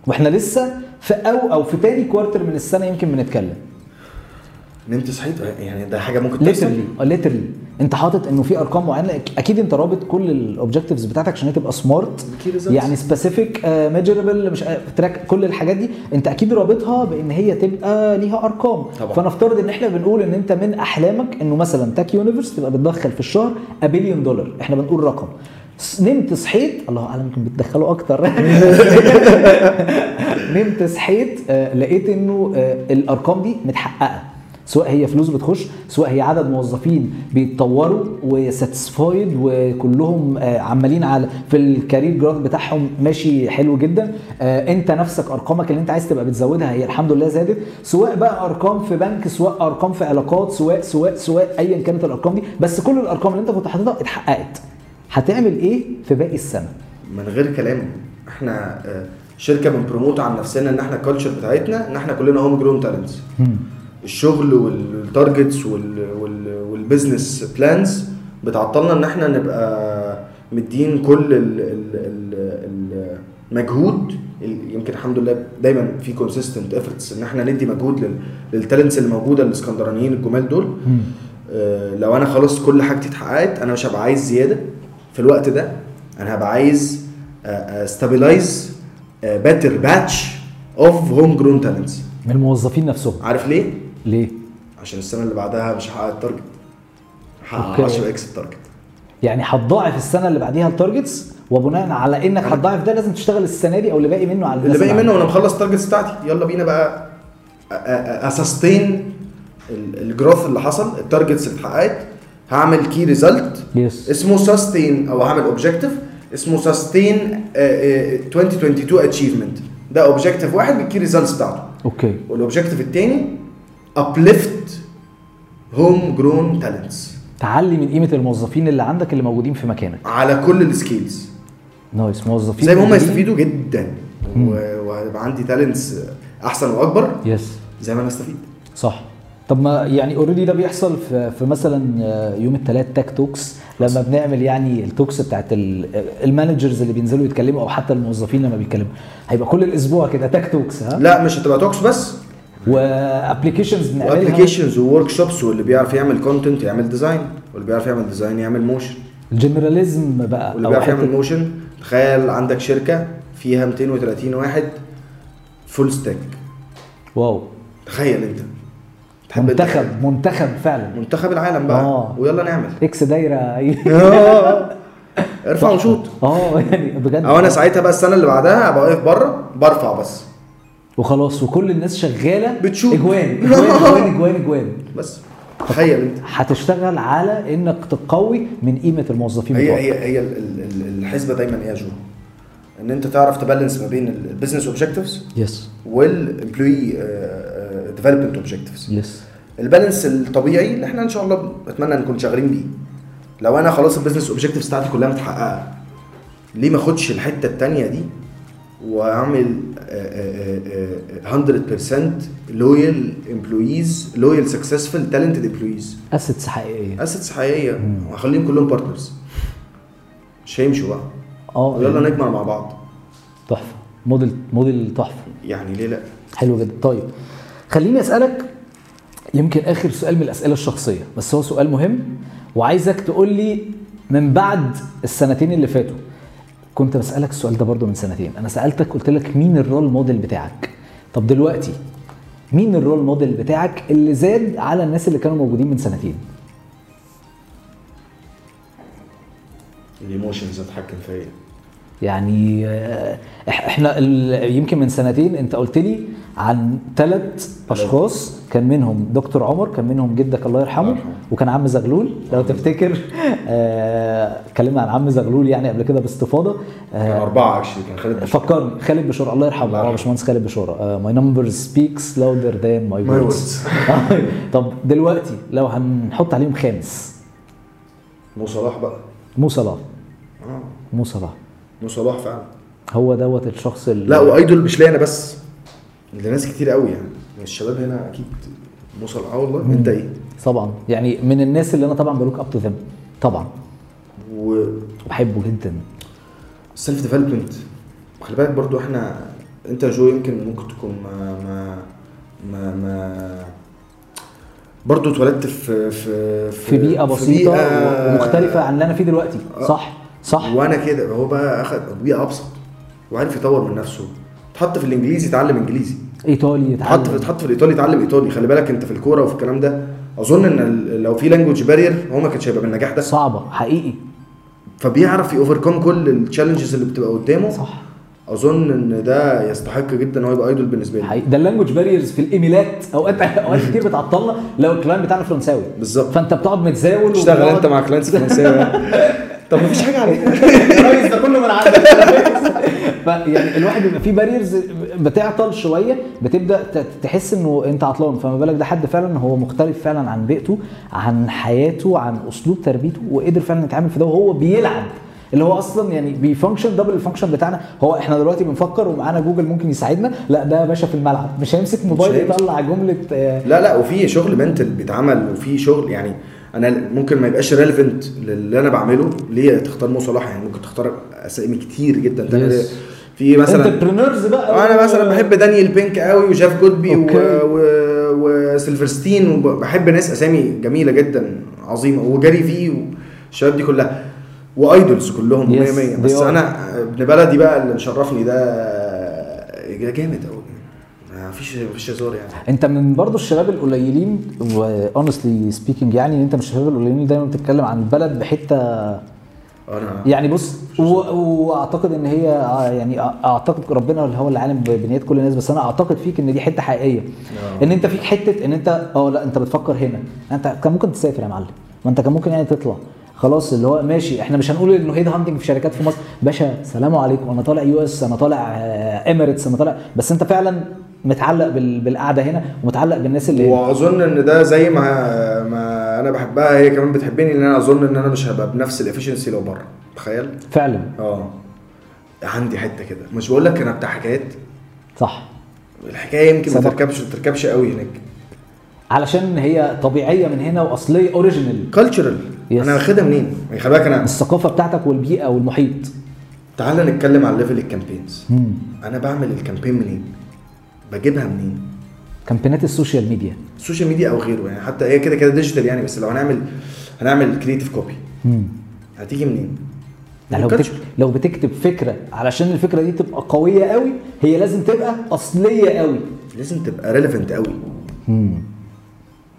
Speaker 1: واحنا لسه في او او في تاني كوارتر من السنه يمكن بنتكلم
Speaker 2: نمت صحيت يعني ده حاجه ممكن تحصل
Speaker 1: ليترلي ليترلي انت آه، حاطط انه في ارقام معينه أك- اكيد انت رابط كل الاوبجكتيفز بتاعتك عشان هي تبقى سمارت
Speaker 2: Key results.
Speaker 1: يعني سبيسيفيك ميجربل مش تراك كل الحاجات دي انت اكيد رابطها بان هي تبقى ليها ارقام
Speaker 2: طبعا.
Speaker 1: فنفترض ان احنا بنقول ان انت من احلامك انه مثلا تاك يونيفرس تبقى بتدخل في الشهر ابليون دولار احنا بنقول رقم س- نمت صحيت الله اعلم يمكن بتدخله اكتر
Speaker 2: (laughs)
Speaker 1: نمت صحيت آه، لقيت انه آه، الارقام دي متحققه سواء هي فلوس بتخش سواء هي عدد موظفين بيتطوروا وساتسفايد وكلهم آه، عمالين على في الكارير جراف بتاعهم ماشي حلو جدا آه، انت نفسك ارقامك اللي انت عايز تبقى بتزودها هي الحمد لله زادت سواء بقى ارقام في بنك سواء ارقام في علاقات سواء سواء سواء ايا كانت الارقام دي بس كل الارقام اللي انت كنت حاططها اتحققت هتعمل ايه في باقي السنه
Speaker 2: من غير كلام احنا آه، شركه بنبروموت عن نفسنا ان احنا الكالتشر بتاعتنا ان احنا كلنا هوم جرون تالنتس الشغل والتارجتس وال- وال- والبزنس بلانز بتعطلنا ان احنا نبقى مدين كل ال- ال- ال- المجهود ال- يمكن الحمد لله دايما في كونسيستنت efforts ان احنا ندي مجهود لل- للتالنتس الموجوده الاسكندرانيين الجمال دول آه، لو انا خلاص كل حاجتي اتحققت انا مش هبقى عايز زياده في الوقت ده انا هبقى عايز آه، استابلايز باتر باتش اوف هوم جرون تالنتس
Speaker 1: من الموظفين نفسهم
Speaker 2: عارف ليه؟
Speaker 1: ليه
Speaker 2: عشان السنه اللي بعدها مش هحقق التارجت هحقق
Speaker 1: أوكي.
Speaker 2: 10 اكس التارجت
Speaker 1: يعني هتضاعف السنه اللي بعديها التارجتس وبناء على انك هتضاعف ده لازم تشتغل السنه دي او اللي باقي منه على
Speaker 2: اللي
Speaker 1: الناس
Speaker 2: باقي منه
Speaker 1: عندك.
Speaker 2: وانا مخلص التارجتس بتاعتي يلا بينا بقى اسستين الجروث اللي حصل التارجتس اللي اتحققت هعمل كي ريزلت
Speaker 1: Yes.
Speaker 2: اسمه ساستين او هعمل اوبجيكتيف اسمه ساستين 2022 اتشيفمنت ده اوبجيكتيف واحد بالكي ريزلتس بتاعته
Speaker 1: اوكي
Speaker 2: والاوبجيكتيف الثاني ابليفت هوم جرون تالنتس
Speaker 1: تعلي من قيمه الموظفين اللي عندك اللي موجودين في مكانك
Speaker 2: على كل السكيلز
Speaker 1: نايس موظفين
Speaker 2: زي ما هم
Speaker 1: موجودين.
Speaker 2: يستفيدوا جدا و- وهيبقى عندي تالنتس احسن واكبر
Speaker 1: يس
Speaker 2: زي ما انا استفيد
Speaker 1: صح طب ما يعني اوريدي ده بيحصل في, في مثلا آه، يوم الثلاث تاك توكس لما بنعمل يعني التوكس بتاعت ال- آه، المانجرز اللي بينزلوا يتكلموا او حتى الموظفين لما بيتكلموا هيبقى كل الاسبوع كده تاك توكس ها
Speaker 2: لا مش هتبقى توكس بس
Speaker 1: وابلكيشنز بنعملها
Speaker 2: وابلكيشنز وورك شوبس واللي بيعرف يعمل كونتنت يعمل ديزاين واللي بيعرف يعمل ديزاين يعمل موشن
Speaker 1: الجنراليزم بقى
Speaker 2: واللي
Speaker 1: أو
Speaker 2: بيعرف
Speaker 1: حتة-
Speaker 2: يعمل موشن تخيل عندك شركه فيها 230 واحد فول ستاك
Speaker 1: واو
Speaker 2: تخيل انت تحب أنت-
Speaker 1: منتخب منتخب فعلا
Speaker 2: منتخب العالم بقى
Speaker 1: آه.
Speaker 2: ويلا
Speaker 1: (laughs)
Speaker 2: نعمل
Speaker 1: اكس دايره (laughs)
Speaker 2: آه. ارفع وشوط
Speaker 1: اه يعني بجد
Speaker 2: او انا ساعتها بقى السنه اللي بعدها ابقى واقف بره برفع بس
Speaker 1: وخلاص وكل الناس شغاله
Speaker 2: بتشوت. (laughs)
Speaker 1: اجوان اجوان اجوان اجوان, إجوان.
Speaker 2: بس تخيل انت
Speaker 1: هتشتغل على انك تقوي من قيمه الموظفين
Speaker 2: هي
Speaker 1: بتوعك
Speaker 2: هي هي ال- ال- ال- الحسبه دايما ايه يا جو؟ ان انت تعرف تبالانس ما بين البزنس اوبجكتيفز
Speaker 1: يس
Speaker 2: والامبلوي ديفلوبمنت اوبجكتيفز
Speaker 1: يس
Speaker 2: آه، البالانس الطبيعي اللي احنا ان شاء الله بتمنى نكون شغالين بيه لو انا خلاص البزنس اوبجكتيفز بتاعتي كلها متحققه ليه ما اخدش الحته التانيه دي واعمل آه، آه، آه، آه، 100% لويال امبلويز لويال سكسسفل تالنتد امبلويز
Speaker 1: اسيتس حقيقيه
Speaker 2: اسيتس حقيقيه وهخليهم كلهم بارتنرز مش هيمشوا بقى يلا
Speaker 1: اه
Speaker 2: نجمع مع بعض
Speaker 1: تحفه موديل موديل تحفه
Speaker 2: يعني ليه لا
Speaker 1: حلو جدا طيب خليني اسالك يمكن اخر سؤال من الاسئله الشخصيه بس هو سؤال مهم وعايزك تقول لي من بعد السنتين اللي فاتوا كنت بسالك السؤال ده برضو من سنتين انا سالتك قلت لك مين الرول موديل بتاعك طب دلوقتي مين الرول موديل بتاعك اللي زاد على الناس اللي كانوا موجودين من سنتين
Speaker 2: الايموشنز اتحكم فيا
Speaker 1: يعني آه، إح- احنا ال- يمكن من سنتين انت قلت لي عن ثلاث اشخاص كان منهم دكتور عمر كان منهم جدك الله يرحمه
Speaker 2: يرحمه.
Speaker 1: وكان عم زغلول لو تفتكر آه، اتكلمنا عن عم زغلول يعني قبل كده باستفاضه آه،
Speaker 2: كان اربعه اكشلي يعني كان خالد بشار.
Speaker 1: فكرني خالد بشور الله يرحمه اه باشمهندس خالد آه، بشور ماي نمبر سبيكس لاودر ذان ماي
Speaker 2: My
Speaker 1: ووردز (laughs) طب دلوقتي لو هنحط عليهم خامس
Speaker 2: مو صلاح بقى
Speaker 1: مو صلاح
Speaker 2: آه،
Speaker 1: مو صلاح
Speaker 2: مو صلاح فعلا
Speaker 1: هو دوت الشخص اللي
Speaker 2: لا وايدول مش ليا انا بس ده ناس كتير قوي يعني الشباب هنا اكيد مو صلاح اه والله انت ايه
Speaker 1: طبعا يعني من الناس اللي انا طبعا بلوك اب تو ذم طبعا
Speaker 2: والسيلف
Speaker 1: وبحبه جدا
Speaker 2: ديفلوبمنت خلي بالك برضو احنا انت يا جو يمكن ممكن تكون ما ما ما, ما برضه اتولدت في في
Speaker 1: في بيئه بسيطه
Speaker 2: بيئة-
Speaker 1: ومختلفه عن اللي انا فيه دلوقتي صح صح
Speaker 2: وانا كده هو بقى اخد بيئه ابسط وعرف يطور من نفسه اتحط في الانجليزي اتعلم انجليزي
Speaker 1: ايطالي
Speaker 2: اتحط في
Speaker 1: اتعلم
Speaker 2: اتحط في الايطالي اتعلم ايطالي خلي بالك انت في الكوره وفي الكلام ده اظن ان ال- لو في لانجوج بارير هو ما كانش هيبقى بالنجاح ده
Speaker 1: صعبه حقيقي
Speaker 2: فبيعرف يوفركم كل التشالنجز اللي بتبقى قدامه
Speaker 1: صح
Speaker 2: اظن ان ده يستحق جدا ان هو يبقى ايدول بالنسبه لي
Speaker 1: حقيقي. ده اللانجوج باريرز في الايميلات اوقات اوقات كتير بتعطلنا لو الكلاين بتاعنا فرنساوي
Speaker 2: بالظبط
Speaker 1: فانت بتقعد متزاول
Speaker 3: تشتغل
Speaker 1: وبتقعد-
Speaker 3: انت مع كلاينتس
Speaker 2: (laughs)
Speaker 3: فرنساوي طب مفيش حاجه عليك
Speaker 1: الرئيس ده كله من (laughs) عندك فيعني يعني الواحد بيبقى فيه باريرز بتعطل شويه بتبدا ت- تحس انه انت عطلان فما بالك ده حد فعلا هو مختلف فعلا عن بيئته عن حياته عن اسلوب تربيته وقدر فعلا يتعامل في ده وهو بيلعب اللي هو اصلا يعني بيفانكشن دبل الفانكشن بتاعنا هو احنا دلوقتي بنفكر ومعانا جوجل ممكن يساعدنا لا ده يا باشا في الملعب مش هيمسك موبايل
Speaker 2: هيمسك.
Speaker 1: يطلع جمله آه،
Speaker 2: لا لا وفي شغل منتل بيتعمل وفي شغل يعني انا ممكن ما يبقاش ريليفنت للي انا بعمله ليه تختار مو صلاح يعني ممكن تختار اسامي كتير جدا
Speaker 1: Yes.
Speaker 2: تانية في مثلا
Speaker 1: entrepreneurs بقى
Speaker 2: انا مثلا بحب دانيال بينك قوي وجاف جودبي و...
Speaker 1: أوكي.
Speaker 2: و... وسيلفرستين وبحب ناس اسامي جميله جدا عظيمه وجاري في والشباب دي كلها وايدولز كلهم
Speaker 1: Yes,
Speaker 2: 100 100
Speaker 1: they
Speaker 2: بس
Speaker 1: are.
Speaker 2: انا ابن بلدي بقى اللي مشرفني ده ده جامد قوي مفيش مفيش هزار يعني
Speaker 1: انت من برضه الشباب القليلين اونستلي سبيكينج يعني ان انت من الشباب القليلين اللي دايما بتتكلم عن البلد بحته
Speaker 2: انا
Speaker 1: يعني بص و- واعتقد ان هي اه يعني اه- اعتقد ربنا اللي هو اللي عالم بنيات كل الناس بس انا اعتقد فيك ان دي حته حقيقيه
Speaker 2: اه.
Speaker 1: ان انت فيك حته ان انت اه لا انت بتفكر هنا انت كان ممكن تسافر يا معلم ما انت كان ممكن يعني تطلع خلاص اللي هو ماشي احنا مش هنقول انه هيد هانتنج في شركات في مصر باشا سلام عليكم انا طالع يو اس انا طالع اميريتس انا طالع بس انت فعلا متعلق بال- بالقعده هنا ومتعلق بالناس اللي هنا
Speaker 2: واظن ان ده زي ما ما انا بحبها هي كمان بتحبني ان انا اظن ان انا مش هبقى بنفس الافشنسي لو بره تخيل
Speaker 1: فعلا
Speaker 2: اه عندي حته كده مش بقول لك انا بتاع حكايات
Speaker 1: صح
Speaker 2: الحكايه يمكن ما
Speaker 1: سبق.
Speaker 2: تركبش ما تركبش قوي هناك
Speaker 1: علشان هي طبيعيه من هنا واصليه اوريجينال
Speaker 2: كالتشرال
Speaker 1: Yes.
Speaker 2: انا واخدها منين؟ يعني خلي بالك انا
Speaker 1: الثقافه بتاعتك والبيئه والمحيط
Speaker 2: تعال نتكلم عن ليفل الكامبينز انا بعمل الكامبين منين؟ بجيبها منين؟
Speaker 1: كامبينات السوشيال ميديا
Speaker 2: السوشيال ميديا او غيره يعني حتى هي كده كده ديجيتال يعني بس لو هنعمل هنعمل كريتيف كوبي هتيجي منين؟
Speaker 1: يعني لو
Speaker 2: من
Speaker 1: بتكتب,
Speaker 2: culture.
Speaker 1: لو بتكتب فكره علشان الفكره دي تبقى قويه قوي هي لازم تبقى اصليه قوي
Speaker 2: لازم تبقى ريليفنت قوي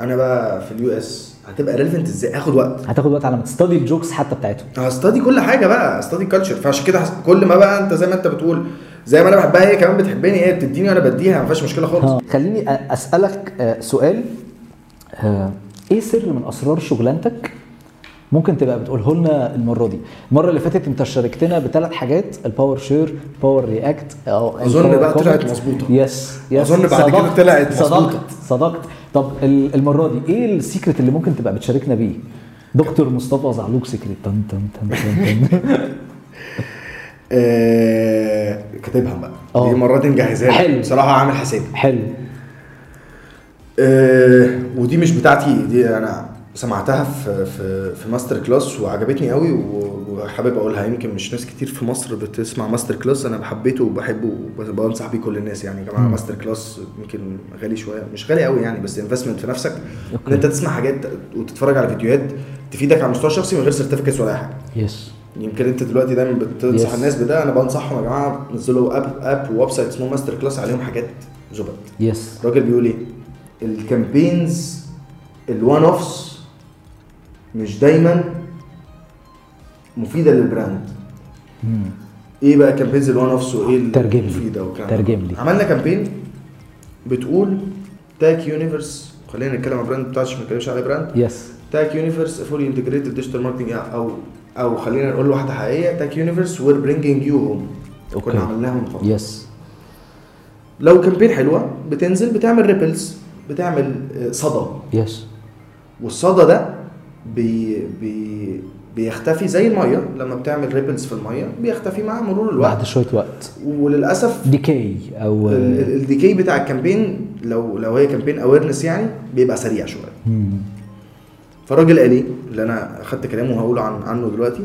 Speaker 2: انا بقى في اليو اس هتبقى ريليفنت ازاي؟ هاخد وقت
Speaker 1: هتاخد وقت على ما تستدي الجوكس حتى بتاعتهم
Speaker 2: هستدي كل حاجه بقى هستدي الكالتشر فعشان كده هس- كل ما بقى انت زي ما انت بتقول زي ما انا بحبها هي كمان بتحبني هي بتديني وانا بديها ما فيهاش مشكله خالص
Speaker 1: ها. خليني أ- اسالك آه، سؤال آه، ايه سر من اسرار شغلانتك ممكن تبقى بتقوله لنا المره دي المره اللي فاتت انت شاركتنا بثلاث حاجات الباور شير باور رياكت او
Speaker 2: أظن
Speaker 1: الباور
Speaker 2: بقى
Speaker 1: كومنت.
Speaker 2: طلعت مظبوطة.
Speaker 1: يس يس
Speaker 2: أظن بعد كده
Speaker 1: صدقت،
Speaker 2: طلعت مظبوطة.
Speaker 1: صدقت صدقت طب ال- المره دي ايه السيكريت اللي ممكن تبقى بتشاركنا بيه دكتور مصطفى زعلوك سيكريت تن تن تن تن تن.
Speaker 2: آه، كاتبها بقى
Speaker 1: آه.
Speaker 2: دي مرة دي مجهزها
Speaker 1: حلو.
Speaker 2: حلو بصراحة عامل حسابي
Speaker 1: حلو
Speaker 2: آه، ودي مش بتاعتي دي أنا سمعتها في في في ماستر كلاس وعجبتني قوي و- وحابب اقولها يمكن مش ناس كتير في مصر بتسمع ماستر كلاس انا بحبيته وبحبه وبنصح بيه كل الناس يعني يا جماعه ماستر كلاس يمكن غالي شويه مش غالي قوي يعني بس انفستمنت في نفسك ان انت تسمع حاجات وتتفرج على فيديوهات تفيدك على المستوى الشخصي من غير سيرتيفيكتس ولا اي حاجه
Speaker 1: يس
Speaker 2: يمكن انت دلوقتي دايما بتنصح
Speaker 1: Yes.
Speaker 2: yes. الناس بده انا بنصحهم يا جماعه نزلوا اب اب وويب سايت اسمه ماستر كلاس عليهم حاجات زبط
Speaker 1: يس
Speaker 2: الراجل بيقول ايه؟ الكامبينز الوان اوفس مش دايما مفيده للبراند
Speaker 1: Hmm.
Speaker 2: ايه بقى كامبينز الوان اوفس وايه
Speaker 1: ترجم لي.
Speaker 2: المفيده والكلام ده؟
Speaker 1: ترجم لي.
Speaker 2: عملنا كامبين بتقول تاك يونيفرس خلينا نتكلم عن براند بتاعتش ما نتكلمش على براند
Speaker 1: يس
Speaker 2: تاك يونيفرس فولي انتجريتد ديجيتال ماركتنج او او خلينا نقول واحده حقيقيه تاك يونيفرس وير برينجينج يو هوم
Speaker 1: أوكي.
Speaker 2: كنا عملناها من فتره
Speaker 1: يس
Speaker 2: لو كامبين حلوه بتنزل بتعمل ريبلز بتعمل آه، صدى
Speaker 1: يس
Speaker 2: والصدى ده بي بي بيختفي زي الميه لما بتعمل ريبلز في الميه بيختفي مع مرور
Speaker 1: بعد
Speaker 2: الوقت
Speaker 1: شويه وقت
Speaker 2: وللاسف
Speaker 1: ديكي او آه،
Speaker 2: ال- ال- الديكي بتاع الكامبين لو لو هي كامبين اويرنس يعني بيبقى سريع شويه
Speaker 1: مم.
Speaker 2: فالراجل قال ايه اللي انا اخدت كلامه وهقوله عن عنه دلوقتي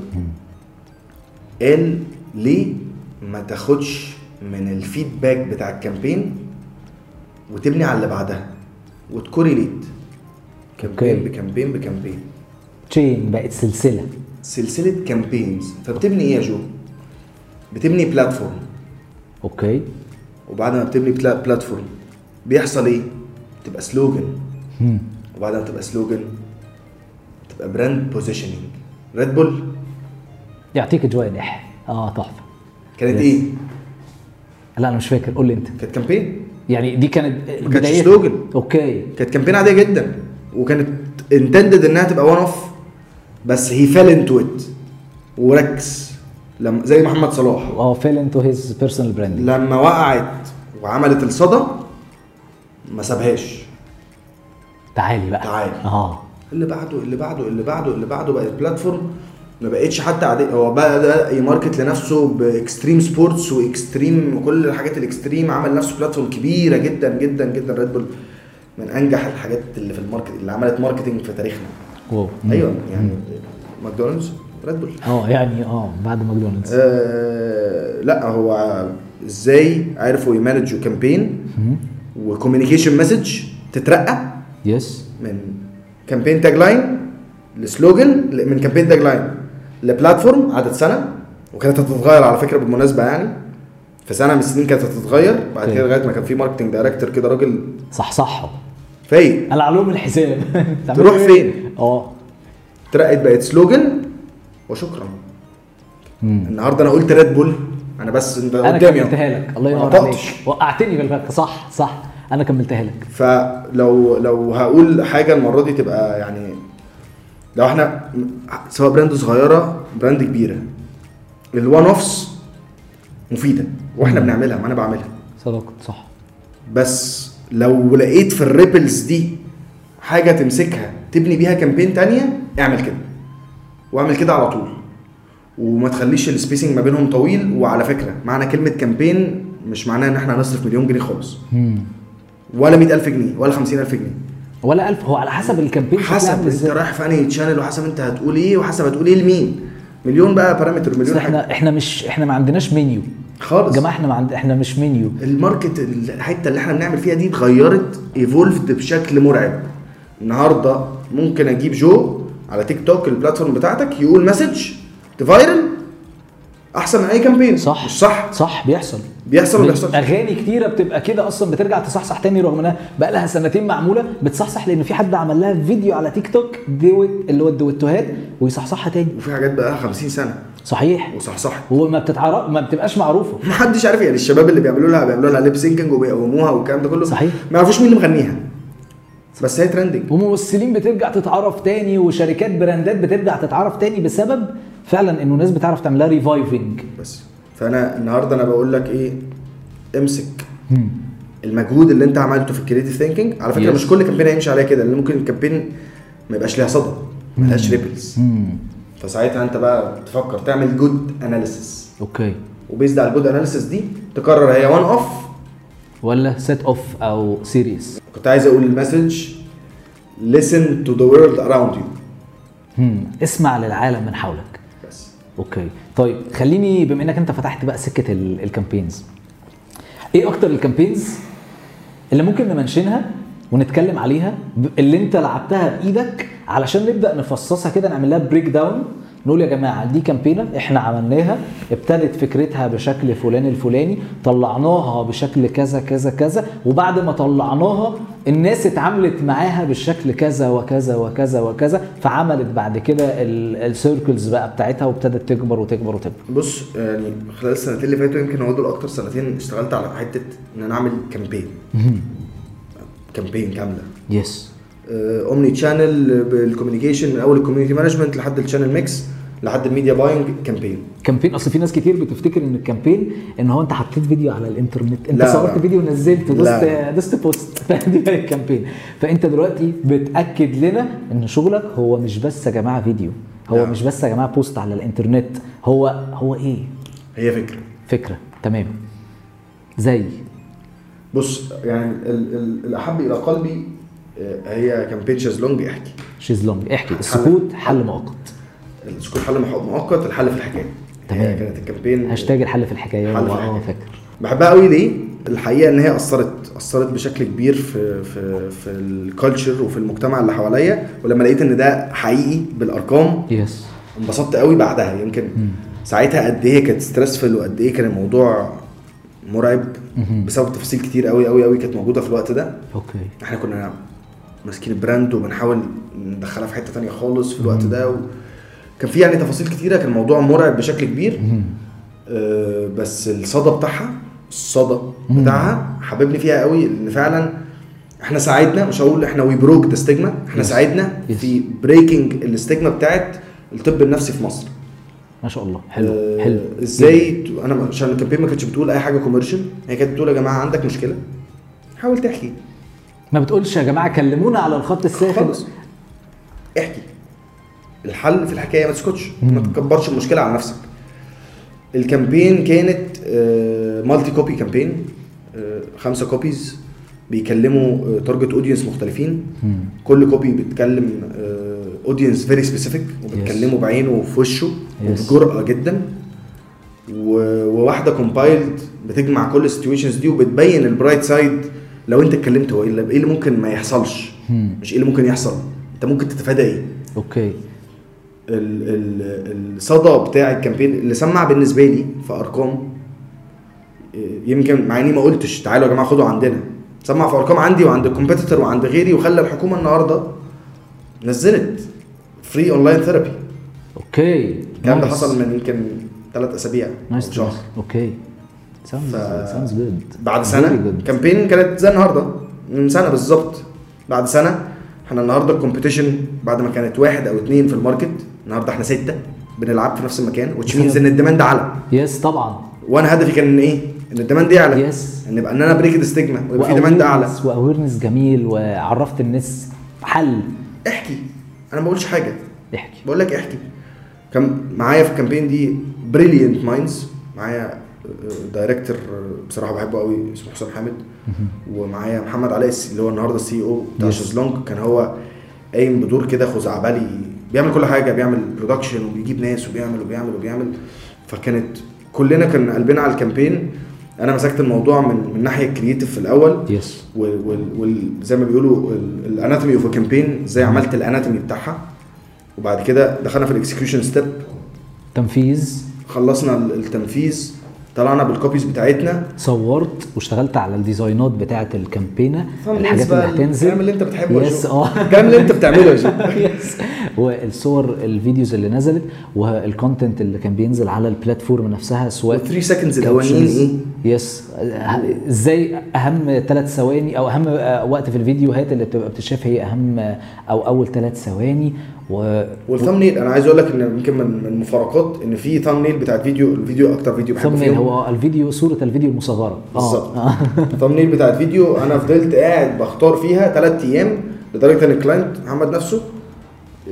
Speaker 2: قال ليه ما تاخدش من الفيدباك بتاع الكامبين وتبني على اللي بعدها وتكوريليت كامبين
Speaker 1: أوكي.
Speaker 2: بكامبين بكامبين
Speaker 1: تشين بقت سلسله
Speaker 2: سلسله كامبينز فبتبني ايه يا جو؟ بتبني بلاتفورم
Speaker 1: اوكي
Speaker 2: وبعد ما بتبني بلا- بلاتفورم بيحصل ايه؟ تبقى سلوجن
Speaker 1: مم.
Speaker 2: وبعد ما تبقى سلوجن تبقى براند بوزيشننج ريد بول
Speaker 1: يعطيك جوانح اه تحفه
Speaker 2: كانت
Speaker 1: Yes.
Speaker 2: ايه؟
Speaker 1: لا انا مش فاكر قول لي انت
Speaker 2: كانت كامبين
Speaker 1: يعني دي كانت
Speaker 2: ما كانتش
Speaker 1: بدايتها.
Speaker 2: سلوجن.
Speaker 1: اوكي
Speaker 2: كانت كامبين عاديه جدا وكانت انتندد انها تبقى وان اوف بس هي فيل انتو ات وركز لما زي محمد صلاح
Speaker 1: اه فيل انتو هيز بيرسونال براندنج
Speaker 2: لما وقعت وعملت الصدى ما سابهاش
Speaker 1: تعالي بقى
Speaker 2: تعالي.
Speaker 1: اه
Speaker 2: اللي بعده اللي بعده اللي بعده اللي بعده بقت بلاتفورم ما بقتش حتى عادي هو بقى ده يماركت لنفسه باكستريم سبورتس واكستريم وكل الحاجات الاكستريم عمل نفسه بلاتفورم كبيره جدا جدا جدا ريد بول من انجح الحاجات اللي في الماركت اللي عملت ماركتنج في تاريخنا
Speaker 1: واو
Speaker 2: ايوه يعني ماكدونالدز ريد بول
Speaker 1: اه يعني اه بعد ماكدونالدز
Speaker 2: آه لا هو ازاي عرفوا يمانجوا كامبين وكوميونيكيشن مسج تترقى
Speaker 1: يس
Speaker 2: من كامبين تاج لاين لسلوجن ل- من كامبين تاج لاين لبلاتفورم قعدت سنه وكانت هتتغير على فكره بالمناسبه يعني في سنه من السنين كانت هتتغير بعد
Speaker 1: اوكي.
Speaker 2: كده لغايه ما كان في ماركتنج دايركتور كده راجل
Speaker 1: صح صح
Speaker 2: فايق
Speaker 1: انا علوم
Speaker 2: (laughs)
Speaker 1: الحساب أنت عملت
Speaker 2: تروح
Speaker 1: إيه؟
Speaker 2: فين؟
Speaker 1: اه
Speaker 2: اترقت بقت سلوجن وشكرا
Speaker 1: مم.
Speaker 2: النهارده انا قلت ريد بول انا بس انت
Speaker 1: انا
Speaker 2: قدامي أهو.
Speaker 1: كملتها لك الله
Speaker 2: ما
Speaker 1: ينور
Speaker 2: قطعتش.
Speaker 1: عليك وقعتني بالفخ صح صح انا كملتها لك
Speaker 2: فلو لو هقول حاجه المره دي تبقى يعني لو احنا سواء براند صغيره براند كبيره الوان اوفس مفيده واحنا بنعملها ما انا بعملها
Speaker 1: صدقت صح
Speaker 2: بس لو لقيت في الريبلز دي حاجه تمسكها تبني بيها كامبين تانية اعمل كده واعمل كده على طول وما تخليش السبيسنج ما بينهم طويل وعلى فكره معنى كلمه كامبين مش معناها ان احنا هنصرف مليون جنيه خالص ولا 100000 جنيه ولا 50000 جنيه
Speaker 1: ولا ألف هو على حسب الكامبين شكلها
Speaker 2: حسب
Speaker 1: عامل
Speaker 2: انت
Speaker 1: إزاي.
Speaker 2: رايح في انهي تشانل وحسب انت هتقول ايه وحسب هتقول ايه لمين مليون بقى بارامتر
Speaker 1: بس
Speaker 2: مليون حاجه
Speaker 1: احنا احنا مش احنا ما عندناش منيو يا
Speaker 2: خالص
Speaker 1: جماعه احنا ما عند... احنا مش منيو
Speaker 2: الماركت الحته اللي احنا بنعمل فيها دي اتغيرت ايفولفد بشكل مرعب النهارده ممكن اجيب جو على تيك توك البلاتفورم بتاعتك يقول مسج تفايرل احسن من اي كامبين
Speaker 1: صح
Speaker 2: مش صح
Speaker 1: صح بيحصل
Speaker 2: بيحصل ولا بيحصلش؟
Speaker 1: اغاني كتيره بتبقى كده اصلا بترجع تصحصح تاني رغم انها بقى لها سنتين معموله بتصحصح لان في حد عمل لها فيديو على تيك توك دوت اللي هو الدوتوهات ويصحصحها تاني
Speaker 2: وفي حاجات بقى 50 سنه
Speaker 1: صحيح
Speaker 2: وصحصحت
Speaker 1: وما بتتعرف ما بتبقاش معروفه
Speaker 2: محدش عارف يعني الشباب اللي بيعملوا لها بيعملوا لها ليب سينكينج وبيقوموها والكلام ده كله
Speaker 1: صحيح.
Speaker 2: ما يعرفوش مين اللي مغنيها بس هي ترندنج
Speaker 1: وممثلين بترجع تتعرف تاني وشركات براندات بترجع تتعرف تاني بسبب فعلا انه ناس بتعرف تعملها ريفايفنج
Speaker 2: بس فانا النهارده انا بقول لك ايه امسك المجهود اللي انت عملته في الكريتيف ثينكينج على فكره
Speaker 1: Yes.
Speaker 2: مش كل كامبين هيمشي عليها كده لان ممكن الكامبين ما يبقاش ليها صدى ما لهاش ريبلز فساعتها انت بقى تفكر تعمل جود اناليسيس
Speaker 1: اوكي
Speaker 2: وبيزد على الجود اناليسيس دي تقرر هي وان اوف
Speaker 1: ولا سيت اوف او سيريس
Speaker 2: كنت عايز اقول المسج listen to the world around you
Speaker 1: اسمع للعالم من حولك
Speaker 2: بس
Speaker 1: اوكي طيب خليني بما انك انت فتحت بقى سكه ال- الكامبينز ايه اكتر الكامبينز اللي ممكن نمنشنها ونتكلم عليها ب- اللي انت لعبتها بايدك علشان نبدا نفصصها كده نعمل لها بريك داون نقول يا جماعه دي كامبينه احنا عملناها ابتدت فكرتها بشكل فلان الفلاني طلعناها بشكل كذا كذا كذا وبعد ما طلعناها الناس اتعاملت معاها بالشكل كذا وكذا وكذا وكذا فعملت بعد كده السيركلز بقى بتاعتها وابتدت تكبر وتكبر وتكبر
Speaker 2: بص يعني خلال السنتين اللي فاتوا يمكن هو دول اكتر سنتين اشتغلت على حته ان انا اعمل كامبين كامبين كامله
Speaker 1: يس
Speaker 2: آه، اومني تشانل بالكوميونيكيشن من اول الكوميونتي مانجمنت لحد الشانل ميكس لحد الميديا باينج كامبين
Speaker 1: كامبين اصل في ناس كتير بتفتكر ان الكامبين ان هو انت حطيت فيديو على الانترنت انت
Speaker 2: لا،
Speaker 1: صورت
Speaker 2: لا.
Speaker 1: فيديو ونزلته دوست
Speaker 2: لا.
Speaker 1: دوست بوست (laughs) دي بقى الكامبين فانت دلوقتي بتاكد لنا ان شغلك هو مش بس يا جماعه فيديو هو
Speaker 2: لا.
Speaker 1: مش بس يا جماعه بوست على الانترنت هو هو ايه
Speaker 2: هي فكره
Speaker 1: فكره تمام زي
Speaker 2: بص يعني ال- ال- الاحب الى قلبي آه، هي كامبين شازلونج بيحكي
Speaker 1: شيزلونج احكي السكوت حل مؤقت
Speaker 2: السكوت حل مح- مؤقت الحل في الحكايه
Speaker 1: تمام.
Speaker 2: هي كانت الكامبين
Speaker 1: هاشتاج الحل في الحكايه
Speaker 2: حل في
Speaker 1: هو-
Speaker 2: الحكاية.
Speaker 1: اه فاكر
Speaker 2: بحبها قوي ليه؟ الحقيقه ان هي اثرت اثرت بشكل كبير في في في الكالتشر وفي المجتمع اللي حواليا ولما لقيت ان ده حقيقي بالارقام
Speaker 1: يس
Speaker 2: انبسطت قوي بعدها يمكن ساعتها قد ايه كانت ستريسفل وقد ايه كان الموضوع مرعب بسبب تفاصيل كتير قوي قوي قوي كانت موجوده في الوقت ده
Speaker 1: اوكي
Speaker 2: احنا كنا ماسكين البراند وبنحاول ندخلها في حته تانية خالص في الوقت ده و... كان في يعني تفاصيل كتيره كان الموضوع مرعب بشكل كبير آه بس الصدى بتاعها الصدى بتاعها حببني فيها قوي ان فعلا احنا ساعدنا مش هقول احنا وي بروك ذا ستيجما احنا
Speaker 1: Yes.
Speaker 2: ساعدنا
Speaker 1: Yes.
Speaker 2: في بريكنج الستيجما بتاعت الطب النفسي في مصر
Speaker 1: ما شاء الله حلو
Speaker 2: آه،
Speaker 1: حلو
Speaker 2: ازاي ت- انا عشان الكامبين ما كانتش بتقول اي حاجه كوميرشال هي كانت بتقول يا جماعه عندك مشكله حاول تحكي
Speaker 1: ما بتقولش يا جماعه كلمونا على الخط الساخن
Speaker 2: خالص احكي الحل في الحكايه ما تسكتش ما تكبرش المشكله على نفسك الكامبين كانت آه، مالتي كوبي كامبين آه، خمسة كوبيز بيكلموا تارجت اودينس مختلفين
Speaker 1: مم.
Speaker 2: كل آه، كوبي بتكلم اودينس فيري سبيسيفيك وبتكلمه بعينه وفي وشه
Speaker 1: Yes.
Speaker 2: وبجرأة جدا و- وواحده كومبايلد بتجمع كل السيتويشنز دي وبتبين البرايت سايد لو انت اتكلمت هو ايه اللي إيه اللي ممكن ما يحصلش
Speaker 1: مم.
Speaker 2: مش ايه اللي ممكن يحصل انت ممكن تتفادى ايه
Speaker 1: اوكي
Speaker 2: ال- ال- الصدى بتاع الكامبين اللي سمع بالنسبه لي في ارقام إيه، يمكن مع اني ما قلتش تعالوا يا جماعه خدوا عندنا سمع في ارقام عندي وعند الكومبيتيتور وعند غيري وخلى الحكومه النهارده نزلت فري اونلاين ثيرابي
Speaker 1: اوكي
Speaker 2: الكلام ده
Speaker 1: Nice.
Speaker 2: حصل من يمكن ثلاث اسابيع أو
Speaker 1: نايس
Speaker 2: شهر
Speaker 1: اوكي ساوندز
Speaker 2: ف-
Speaker 1: ساوندز جود
Speaker 2: بعد سنه كامبين كانت زي النهارده من سنه بالظبط بعد سنه احنا النهارده الكومبيتيشن بعد ما كانت واحد او اتنين في الماركت النهارده احنا سته بنلعب في نفس المكان وتش مينز ان الديماند على
Speaker 1: يس طبعا
Speaker 2: وانا هدفي كان ان ايه؟ ان الديماند يعلى
Speaker 1: Yes.
Speaker 2: ان يبقى ان انا بريك الستيجما ويبقى في ديماند اعلى
Speaker 1: واويرنس جميل وعرفت الناس حل
Speaker 2: احكي انا ما بقولش حاجه
Speaker 1: احكي
Speaker 2: بقول لك احكي كان معايا في الكامبين دي بريليانت مايندز معايا آه، دايركتور بصراحه بحبه قوي اسمه حسام حامد ومعايا محمد علاء الس- اللي هو النهارده السي او بتاع
Speaker 1: Yes.
Speaker 2: شازلونج كان هو قايم بدور كده خزعبلي بيعمل كل حاجه بيعمل برودكشن وبيجيب ناس وبيعمل وبيعمل وبيعمل فكانت كلنا كان قلبنا على الكامبين انا مسكت الموضوع من من ناحيه كرييتيف في الاول
Speaker 1: يس
Speaker 2: وال- وال- وال- زي ما بيقولوا الاناتومي اوف كامبين ازاي عملت الاناتومي بتاعها وبعد كده دخلنا في الاكسكيوشن ستيب
Speaker 1: تنفيذ
Speaker 2: خلصنا ال- التنفيذ طلعنا بالكوبيز بتاعتنا
Speaker 1: صورت واشتغلت على الديزاينات بتاعه الكامبينه
Speaker 2: thumbnails
Speaker 1: الحاجات اللي
Speaker 2: بقى، الكلام
Speaker 1: هتنزل
Speaker 2: اللي انت بتحبه يا
Speaker 1: Yes،
Speaker 2: جو.
Speaker 1: اه.
Speaker 2: (laughs) الكلام اللي انت بتعمله
Speaker 1: (laughs)
Speaker 2: يا جو.
Speaker 1: يس والصور الفيديوز اللي نزلت والكونتنت اللي كان بينزل على البلاتفورم نفسها سواء
Speaker 2: 3 سكندز
Speaker 1: يعني
Speaker 2: الاولانيين
Speaker 1: إيه؟
Speaker 2: ايه؟
Speaker 1: يس ازاي اهم ثلاث ثواني او اهم آه، وقت في الفيديوهات اللي بتبقى بتتشاف هي اهم آه، او اول ثلاث ثواني و
Speaker 2: والثامنيل انا عايز اقول لك ان يمكن من من المفارقات ان في ثامنيل بتاعت فيديو الفيديو اكتر فيديو بحبه
Speaker 1: ثمن
Speaker 2: فيهم
Speaker 1: هو آه، الفيديو صوره الفيديو المصغره آه.
Speaker 2: بالظبط
Speaker 1: آه.
Speaker 2: الثامنيل بتاعت فيديو انا فضلت قاعد بختار فيها ثلاث ايام لدرجه ان الكلاينت محمد نفسه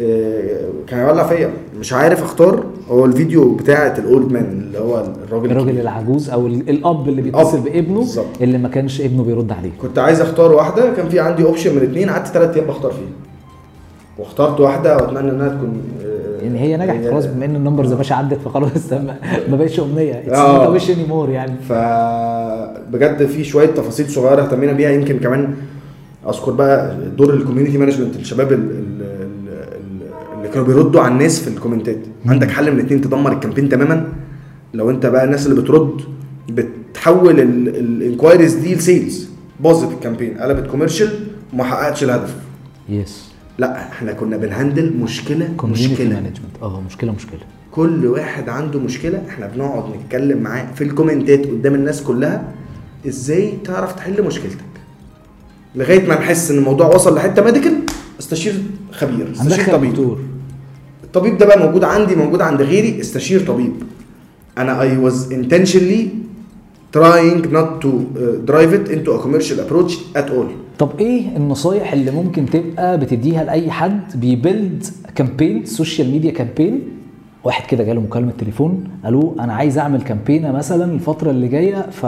Speaker 2: آه، كان يولع فيا مش عارف اختار هو الفيديو بتاعت الاولد مان اللي هو الراجل
Speaker 1: (laughs) الراجل
Speaker 2: الكبير.
Speaker 1: العجوز او ال- الاب اللي بيتصل
Speaker 2: الأب،
Speaker 1: بابنه
Speaker 2: بالظبط.
Speaker 1: اللي ما كانش ابنه بيرد عليه
Speaker 2: كنت عايز اختار واحده كان في عندي اوبشن من اثنين قعدت ثلاث ايام بختار فيها واخترت واحده واتمنى انها تكون آه،
Speaker 1: يعني هي نجحت
Speaker 2: يعني-
Speaker 1: خلاص بما ان النمبرز يا باشا عدت فخلاص (laughs) ما ما بقتش امنيه اتس
Speaker 2: آه.
Speaker 1: نوت ويش اني مور يعني
Speaker 2: فبجد في شويه تفاصيل صغيره اهتمينا بيها يمكن كمان اذكر بقى دور الكوميونتي مانجمنت الشباب ال- ال- ال- ال- اللي كانوا بيردوا على الناس في الكومنتات عندك حل من اتنين تدمر الكامبين تماما لو انت بقى الناس اللي بترد بتحول الانكوايريز دي لسيلز باظت الكامبين قلبت كوميرشال وما حققتش الهدف
Speaker 1: يس
Speaker 2: لا احنا كنا بنهندل مشكله
Speaker 1: كوميونتي
Speaker 2: مشكله
Speaker 1: مانجمنت اه مشكله مشكله
Speaker 2: كل واحد عنده مشكله احنا بنقعد نتكلم معاه في الكومنتات قدام الناس كلها ازاي تعرف تحل مشكلتك لغايه ما نحس ان الموضوع وصل لحته ميديكال استشير خبير استشير
Speaker 1: هندخل
Speaker 2: طبيب
Speaker 1: دكتور
Speaker 2: الطبيب ده بقى موجود عندي موجود عند غيري استشير طبيب انا اي واز intentionally trying not to uh, drive it into a commercial approach at all
Speaker 1: طب ايه النصايح اللي ممكن تبقى بتديها لاي حد بيبيلد كامبين سوشيال ميديا كامبين واحد كده جاله مكالمه تليفون قالوا انا عايز اعمل كامبينه مثلا الفتره اللي جايه ف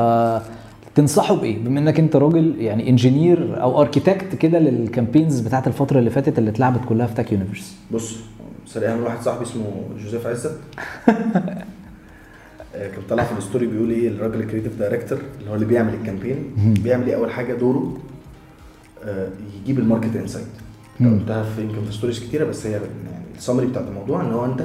Speaker 1: تنصحه بايه بما انك انت راجل يعني انجينير او اركيتكت كده للكامبينز بتاعت الفتره اللي فاتت اللي اتلعبت كلها في تاك يونيفرس
Speaker 2: بص سرقها من واحد صاحبي اسمه جوزيف عزت آه، كان طالع في الستوري بيقول ايه الراجل الكريتيف دايركتور اللي هو اللي بيعمل الكامبين بيعمل ايه اول حاجه دوره آه، يجيب الماركت انسايت
Speaker 1: مم.
Speaker 2: قلتها في يمكن في ستوريز كتيره بس هي يعني السمري بتاعت الموضوع ان هو انت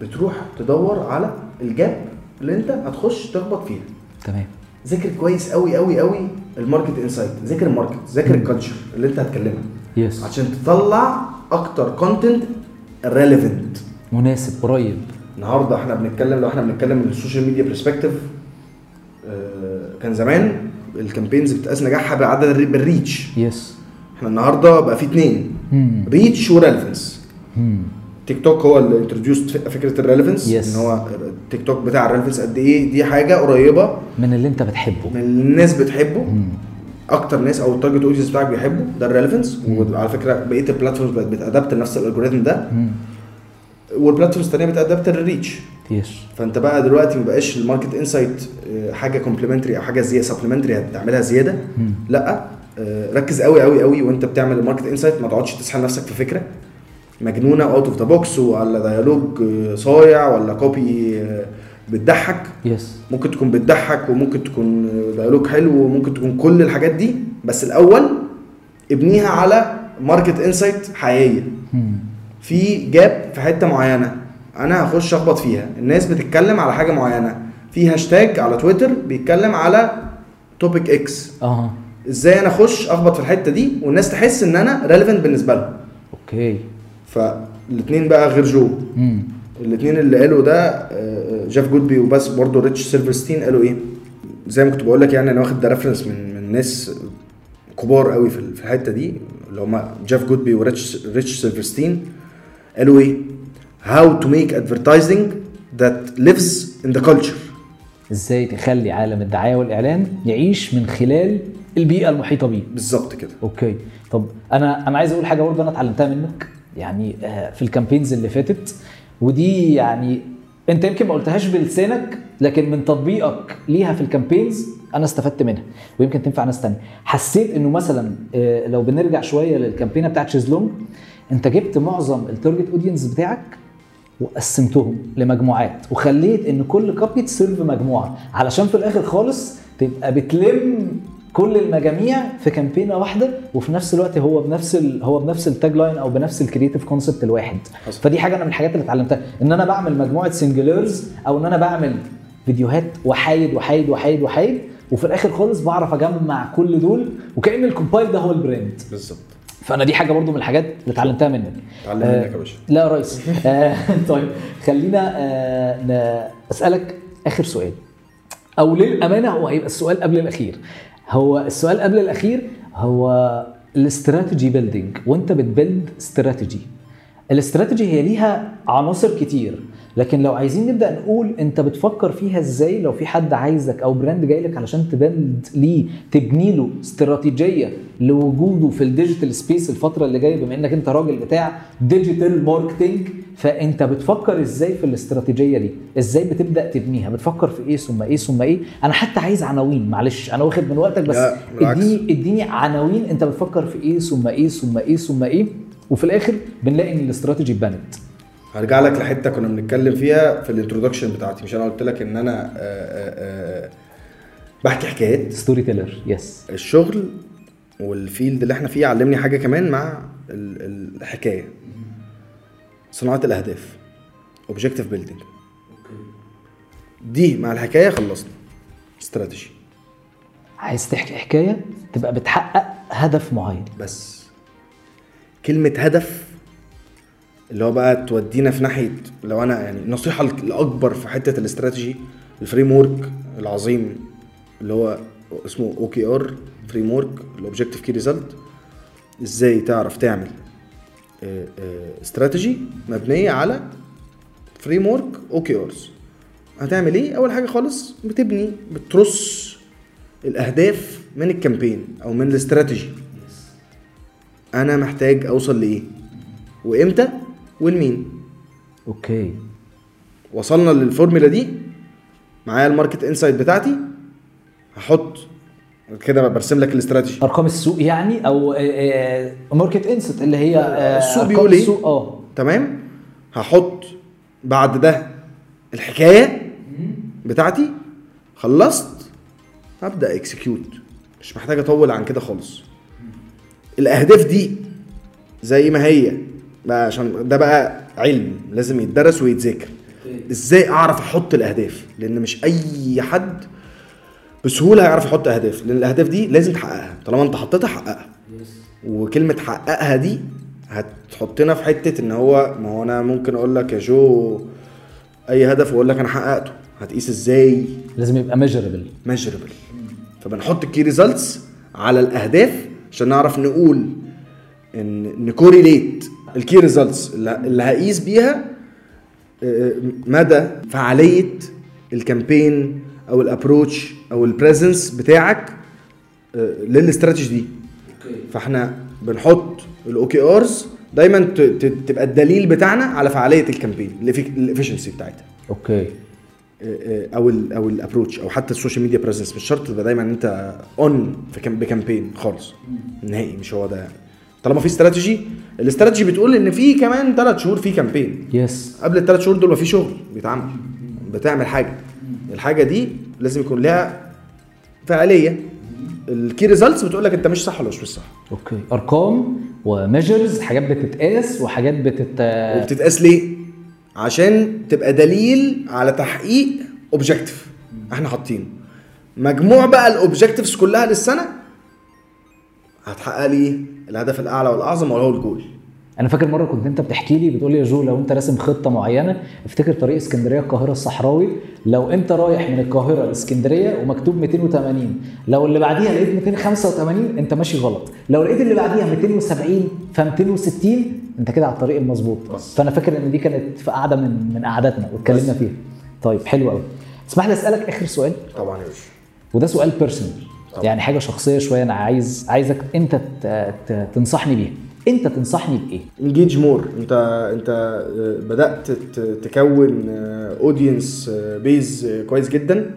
Speaker 2: بتروح تدور على الجاب اللي انت هتخش تخبط فيها
Speaker 1: تمام
Speaker 2: ذاكر كويس قوي قوي قوي الماركت انسايت ذاكر الماركت ذاكر الكالتشر اللي انت هتكلمها
Speaker 1: يس
Speaker 2: عشان تطلع اكتر كونتنت ريليفنت
Speaker 1: مناسب قريب
Speaker 2: النهارده احنا بنتكلم لو احنا بنتكلم من السوشيال ميديا برسبكتيف آه، كان زمان الكامبينز بتقاس نجاحها بالعدد الري- بالريتش
Speaker 1: يس
Speaker 2: احنا النهارده بقى في اتنين
Speaker 1: Hmm.
Speaker 2: ريتش وريليفنس تيك توك هو اللي انتروديوس فكره الريليفنس
Speaker 1: Yes.
Speaker 2: ان هو التيك توك بتاع الريليفنس قد ايه دي حاجه قريبه
Speaker 1: من اللي انت بتحبه Hmm.
Speaker 2: من الناس بتحبه اكتر ناس او التارجت اودينس بتاعك بيحبه ده الريليفنس وعلى فكره بقيه البلاتفورمز بقت بتادبت لنفس الالجوريزم ده
Speaker 1: Hmm.
Speaker 2: والبلاتفورمز الثانيه بتادبت للريتش
Speaker 1: يس
Speaker 2: فانت بقى دلوقتي ما بقاش الماركت انسايت آه، حاجه كومبلمنتري او حاجه زياده سبلمنتري هتعملها زياده
Speaker 1: Hmm.
Speaker 2: لا آه، ركز قوي قوي قوي وانت بتعمل الماركت انسايت ما تقعدش تسحل نفسك في فكره مجنونه اوت اوف ذا بوكس ولا ديالوج آه، صايع ولا كوبي آه، بتضحك
Speaker 1: يس
Speaker 2: ممكن تكون بتضحك وممكن تكون ديالوج حلو وممكن تكون كل الحاجات دي بس الاول ابنيها على ماركت انسايت حقيقيه
Speaker 1: Hmm.
Speaker 2: في جاب في حته معينه انا هخش اخبط فيها الناس بتتكلم على حاجه معينه في هاشتاج على تويتر بيتكلم على توبيك اكس
Speaker 1: اه
Speaker 2: ازاي انا اخش اخبط في الحته دي والناس تحس ان انا ريليفنت بالنسبه لهم
Speaker 1: اوكي
Speaker 2: فالاثنين بقى غير جو
Speaker 1: مم.
Speaker 2: الاثنين اللي قالوا ده آه، جيف جودبي وبس برضه ريتش سيلفرستين قالوا ايه زي ما كنت بقول لك يعني انا واخد ده ريفرنس من من ناس كبار قوي في ال- في الحته دي اللي هما جيف جودبي وريتش ريتش سيلفرستين قالوا ايه هاو تو ميك ادفرتايزنج ذات ليفز ان ذا كلتشر
Speaker 1: ازاي تخلي عالم الدعايه والاعلان يعيش من خلال البيئه المحيطه بيه
Speaker 2: بالظبط كده
Speaker 1: اوكي طب انا انا عايز اقول حاجه برضه انا اتعلمتها منك يعني آه، في الكامبينز اللي فاتت ودي يعني انت يمكن ما قلتهاش بلسانك لكن من تطبيقك ليها في الكامبينز انا استفدت منها ويمكن تنفع ناس تانية حسيت انه مثلا آه، لو بنرجع شويه للكامبينه بتاعت شيزلونج انت جبت معظم التارجت اودينس بتاعك وقسمتهم لمجموعات وخليت ان كل كابي تسيرف مجموعه علشان في الاخر خالص تبقى بتلم كل المجاميع في كامبينه واحده وفي نفس الوقت هو بنفس ال هو بنفس التاج لاين او بنفس الكريتيف كونسبت الواحد
Speaker 4: حصل.
Speaker 1: فدي حاجه انا من الحاجات اللي اتعلمتها ان انا بعمل مجموعه سنجلرز او ان انا بعمل فيديوهات وحايد وحايد وحايد وحايد وفي الاخر خالص بعرف اجمع كل دول وكان الكومبايل ده هو البراند
Speaker 4: بالظبط
Speaker 1: فانا دي حاجه برضو من الحاجات اللي اتعلمتها منك
Speaker 4: اتعلم
Speaker 1: آه،
Speaker 4: منك يا باشا.
Speaker 1: لا يا ريس آه، (laughs) طيب خلينا آه، ن- اسالك اخر سؤال او للامانه هو هيبقى السؤال قبل الاخير هو السؤال قبل الاخير هو الاستراتيجي بيلدينج وانت بتبيلد استراتيجي الاستراتيجي هي ليها عناصر كتير لكن لو عايزين نبدا نقول انت بتفكر فيها ازاي لو في حد عايزك او براند جاي لك علشان تبلد ليه تبني له استراتيجيه لوجوده في الديجيتال سبيس الفتره اللي جايه بما انك انت راجل بتاع ديجيتال ماركتنج فانت بتفكر ازاي في الاستراتيجيه دي ازاي بتبدا تبنيها بتفكر في ايه ثم ايه ثم ايه انا حتى عايز عناوين معلش انا واخد من وقتك بس
Speaker 2: لا، بالعكس.
Speaker 1: اديني اديني عناوين انت بتفكر في ايه ثم ايه ثم ايه ثم ايه وفي الاخر بنلاقي ان الاستراتيجي اتبنت
Speaker 2: آه. هرجع لك لحته كنا بنتكلم فيها في الانترودكشن بتاعتي مش انا قلت لك ان انا آه، آه، آه، بحكي حكايات
Speaker 1: ستوري تيلر يس
Speaker 2: الشغل والفيلد اللي احنا فيه علمني حاجه كمان مع ال- ال- الحكايه صناعه الاهداف اوبجيكتيف بيلدينج دي مع الحكايه خلصنا استراتيجي
Speaker 1: عايز تحكي حكايه تبقى بتحقق هدف معين
Speaker 2: بس كلمه هدف اللي هو بقى تودينا في ناحيه لو انا يعني النصيحه الك- الاكبر في حته الاستراتيجي الفريم ورك العظيم اللي هو اسمه او كي ار فريم ورك الاوبجيكتيف كي ريزلت ازاي تعرف تعمل آه، آه، استراتيجي مبنيه على فريم ورك او كي ارز هتعمل ايه اول حاجه خالص بتبني بترص الاهداف من الكامبين او من الاستراتيجي انا محتاج اوصل لايه وامتى والمين
Speaker 1: اوكي
Speaker 2: وصلنا للفورمولا دي معايا الماركت انسايت بتاعتي هحط كده برسم لك الاستراتيجي
Speaker 1: ارقام السوق يعني او آه، آه، ماركت انسيت اللي هي آه،
Speaker 2: السوق
Speaker 1: أرقام
Speaker 2: بيقول إيه؟
Speaker 1: السوق اه
Speaker 2: تمام هحط بعد ده الحكايه بتاعتي خلصت هبدا اكسكيوت مش محتاج اطول عن كده خالص الاهداف دي زي ما هي بقى عشان ده بقى علم لازم يتدرس ويتذاكر ازاي اعرف احط الاهداف لان مش اي حد بسهوله هيعرف يحط اهداف لان الاهداف دي لازم تحققها طالما انت حطيتها حققها وكلمه حققها دي هتحطنا في حته ان هو ما هو انا ممكن اقول لك يا جو اي هدف واقول لك انا حققته هتقيس ازاي
Speaker 1: لازم يبقى ميجربل
Speaker 2: ميجربل فبنحط الكي ريزلتس على الاهداف عشان نعرف نقول ان نكوريليت الكي ريزلتس اللي هقيس بيها آه، مدى فعاليه الكامبين او الابروتش او البريزنس بتاعك آه، للاستراتيجي دي فاحنا بنحط الاوكي ارز دايما ت- ت- تبقى الدليل بتاعنا على فعاليه الكامبين الافشنسي بتاعتها
Speaker 1: اوكي
Speaker 2: او آه، ال او الابروتش او حتى السوشيال ميديا بريزنس مش شرط تبقى دايما انت اون في كام بكامبين خالص نهائي مش هو ده يعني طالما في استراتيجي الاستراتيجي بتقول ان في كمان ثلاث شهور في كامبين
Speaker 1: يس
Speaker 2: قبل الثلاث شهور دول مفيش شغل بيتعمل بتعمل حاجه الحاجه دي لازم يكون لها فعاليه الكي ريزلتس بتقول لك انت مش صح ولا مش مش صح
Speaker 1: اوكي ارقام وميجرز حاجات بتتقاس وحاجات بتت
Speaker 2: وبتتقاس ليه؟ عشان تبقى دليل على تحقيق اوبجيكتيف احنا حاطينه مجموع بقى الاوبجيكتيفز كلها للسنه هتحقق لي إيه؟ الهدف الاعلى والاعظم ولا هو الجول
Speaker 1: انا فاكر مره كنت انت بتحكي لي بتقول لي يا جو لو انت راسم خطه معينه افتكر طريق اسكندريه القاهره الصحراوي لو انت رايح من القاهره لاسكندريه ومكتوب 280 لو اللي بعديها لقيت 285 انت ماشي غلط لو لقيت اللي بعديها 270 ف 260 انت كده على الطريق المظبوط فانا فاكر ان دي كانت في قعده من من قعداتنا واتكلمنا فيها طيب حلو قوي تسمح لي اسالك اخر سؤال
Speaker 2: طبعا يا باشا
Speaker 1: وده سؤال بيرسونال يعني حاجه شخصيه شويه انا عايز عايزك انت ت- ت- تنصحني بيها انت تنصحني بايه
Speaker 2: انجيج مور انت انت آه، بدات ت- تكون آه، اودينس بيز كويس جدا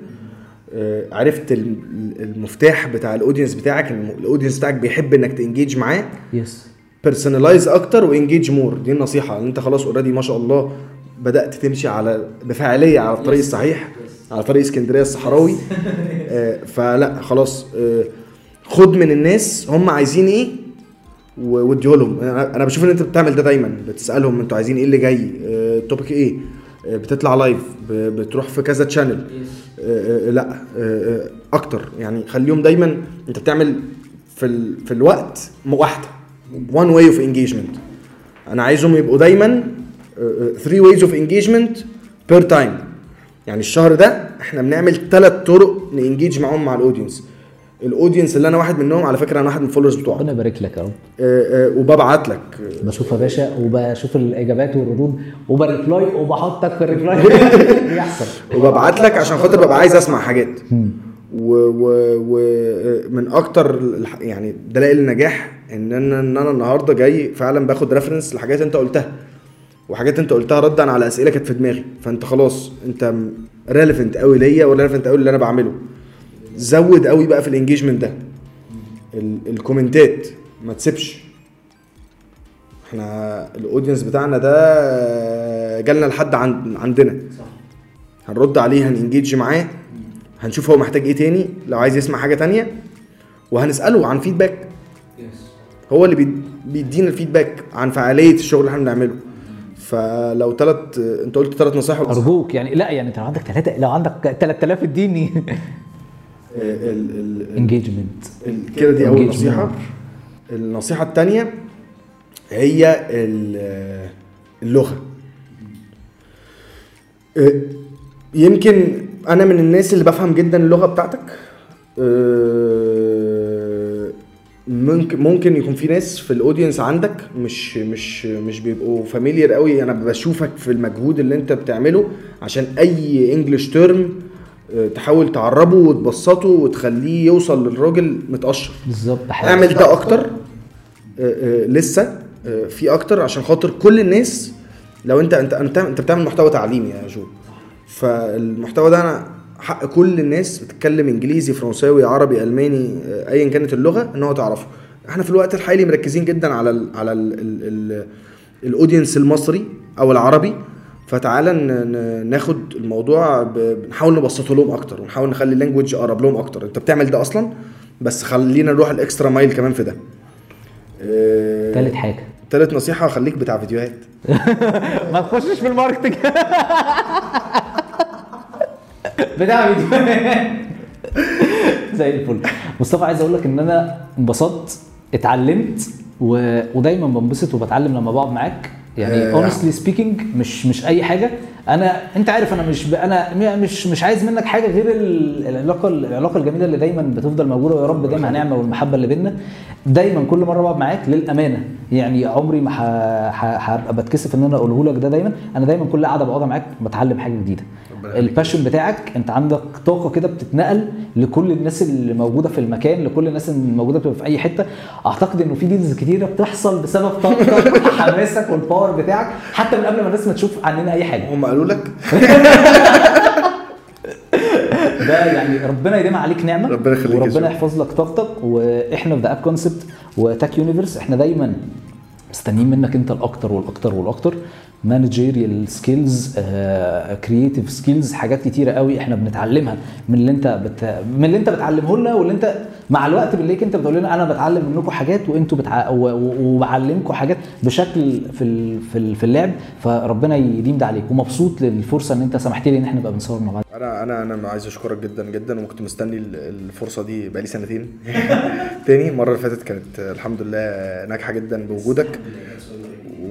Speaker 2: آه، عرفت الم- المفتاح بتاع الاودينس بتاعك الاودينس بتاعك بيحب انك تنجيج معاه
Speaker 1: يس
Speaker 2: بيرسونلايز اكتر وانجيج مور دي النصيحه لان انت خلاص اوريدي ما شاء الله بدات تمشي على بفاعليه على الطريق الصحيح على طريق اسكندريه الصحراوي آه، فلا خلاص آه، خد من الناس هم عايزين ايه و- واديه لهم انا أنا بشوف ان انت بتعمل ده دايما بتسالهم انتوا عايزين ايه اللي جاي آه، التوبيك ايه آه، بتطلع لايف ب- بتروح في كذا تشانل آه، آه، لا آه، آه، اكتر يعني خليهم دايما انت بتعمل في ال... في الوقت م- واحده وان واي اوف انجيجمنت انا عايزهم يبقوا دايما 3 ways اوف انجيجمنت بير تايم يعني الشهر ده احنا بنعمل ثلاث طرق نانجيج معاهم مع الاودينس الاودينس اللي انا واحد منهم على فكره انا واحد من الفولورز بتوعهم
Speaker 1: ربنا يبارك لك يا رب
Speaker 2: آه، آه، وببعت لك
Speaker 1: بشوف يا باشا وبشوف الاجابات والردود وبريبلاي وبحطك في (laughs) الريبلاي بيحصل
Speaker 2: وببعت لك عشان خاطر ببقى عايز اسمع حاجات و و و آه، من اكتر الح- يعني دلائل النجاح ان انا ان انا النهارده جاي فعلا باخد ريفرنس لحاجات انت قلتها وحاجات انت قلتها ردا على اسئله كانت في دماغي فانت خلاص انت ريليفنت قوي ليا وريليفنت قوي اللي انا بعمله زود قوي بقى في الانجيجمنت ده ال- الكومنتات ما تسيبش احنا الاودينس بتاعنا ده جالنا لحد عند عندنا هنرد عليه هننجيج معاه هنشوف هو محتاج ايه تاني لو عايز يسمع حاجه تانية وهنساله عن فيدباك هو اللي بيد- بيدينا الفيدباك عن فعاليه الشغل اللي احنا بنعمله فلو ثلاث انت قلت ثلاث نصائح ولا
Speaker 1: ارجوك يعني لا يعني انت لو عندك ثلاثه لو عندك 3000 اديني
Speaker 2: ال- ال- ال-
Speaker 1: انجيجمنت
Speaker 2: ال- كده دي اول
Speaker 1: (laughs) Engagement.
Speaker 2: نصيحه النصيحه الثانيه هي ال- اللغه آه، يمكن انا من الناس اللي بفهم جدا اللغه بتاعتك آه، ممكن ممكن يكون في ناس في الاودينس عندك مش مش مش بيبقوا فاميليار قوي انا بشوفك في المجهود اللي انت بتعمله عشان اي انجلش تيرم أه، تحاول تعربه وتبسطه وتخليه يوصل للراجل متقشر
Speaker 1: بالظبط حاجة.
Speaker 2: اعمل ده اكتر آه، آه، لسه آه، في اكتر عشان خاطر كل الناس لو انت انت انت, انت بتعمل محتوى تعليمي يا جو فالمحتوى ده انا حق كل الناس بتتكلم انجليزي فرنساوي عربي الماني آه، ايا كانت اللغه ان هو تعرفه احنا في الوقت الحالي مركزين جدا على ال على ال ال ال الاودينس المصري او العربي فتعالى ن- ن- ناخد الموضوع ب- بنحاول نبسطه لهم اكتر ونحاول نخلي اللانجوج اقرب لهم اكتر انت بتعمل ده اصلا بس خلينا نروح الاكسترا مايل كمان في ده آه،
Speaker 1: ثالث حاجه
Speaker 2: تالت نصيحه خليك بتاع فيديوهات
Speaker 1: ما تخشش في الماركتنج (laughs) بتاع فيديوهات (laughs) زي الفل مصطفى عايز اقول لك ان انا انبسطت اتعلمت و... ودايما بنبسط وبتعلم لما بقعد معاك يعني
Speaker 2: آه،
Speaker 1: اونستلي سبيكينج مش مش اي حاجه انا انت عارف انا مش ب... انا م- مش مش عايز منك حاجه غير ال- العلاقه العلاقه الجميله اللي دايما بتفضل موجوده ويا رب دايما هنعمه والمحبه اللي بينا دايما كل مره بقعد معاك للامانه يعني عمري ما ح- ح- هبقى بتكسف ان انا اقوله لك ده دايما انا دايما كل قعده بقعدها معاك بتعلم حاجه جديده الباشن بتاعك انت عندك طاقه كده بتتنقل لكل الناس اللي موجوده في المكان لكل الناس اللي موجوده بتبقى في اي حته اعتقد انه في ديلز كتيره بتحصل بسبب طاقتك (laughs) حماسك والباور بتاعك حتى من قبل ما الناس ما تشوف عننا اي حاجه
Speaker 2: هم قالوا لك
Speaker 1: (laughs) ده يعني ربنا يديم عليك نعمه
Speaker 5: ربنا يخليك يا
Speaker 1: وربنا
Speaker 5: شباب.
Speaker 1: يحفظ لك طاقتك واحنا في ذا اب كونسبت وتاك يونيفرس احنا دايما مستنيين منك انت الاكتر والاكتر والاكتر مانجيريال سكيلز كرييتيف سكيلز آه، حاجات كتيره قوي احنا بنتعلمها من اللي انت بت... من اللي انت بتعلمه لنا واللي انت مع الوقت بنلاقيك انت بتقول لنا انا بتعلم منكم حاجات وانتوا بتع... و... و... وبعلمكم حاجات بشكل في ال... في ال- في اللعب فربنا يديم ده عليك ومبسوط للفرصه ان انت سمحت لي ان احنا نبقى بنصور مع بعض
Speaker 2: انا انا انا عايز اشكرك جدا جدا وكنت مستني ال- الفرصه دي بقالي
Speaker 1: (laughs)
Speaker 2: سنتين تاني المره اللي فاتت كانت آه، الحمد لله ناجحه جدا بوجودك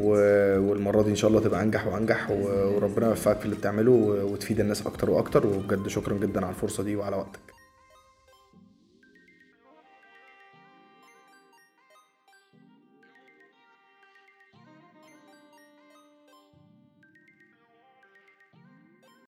Speaker 2: و- والمره دي ان شاء الله تبقى انجح وانجح و- وربنا يوفقك في اللي بتعمله و- وتفيد الناس اكتر واكتر وبجد شكرا جدا على الفرصه دي وعلى وقتك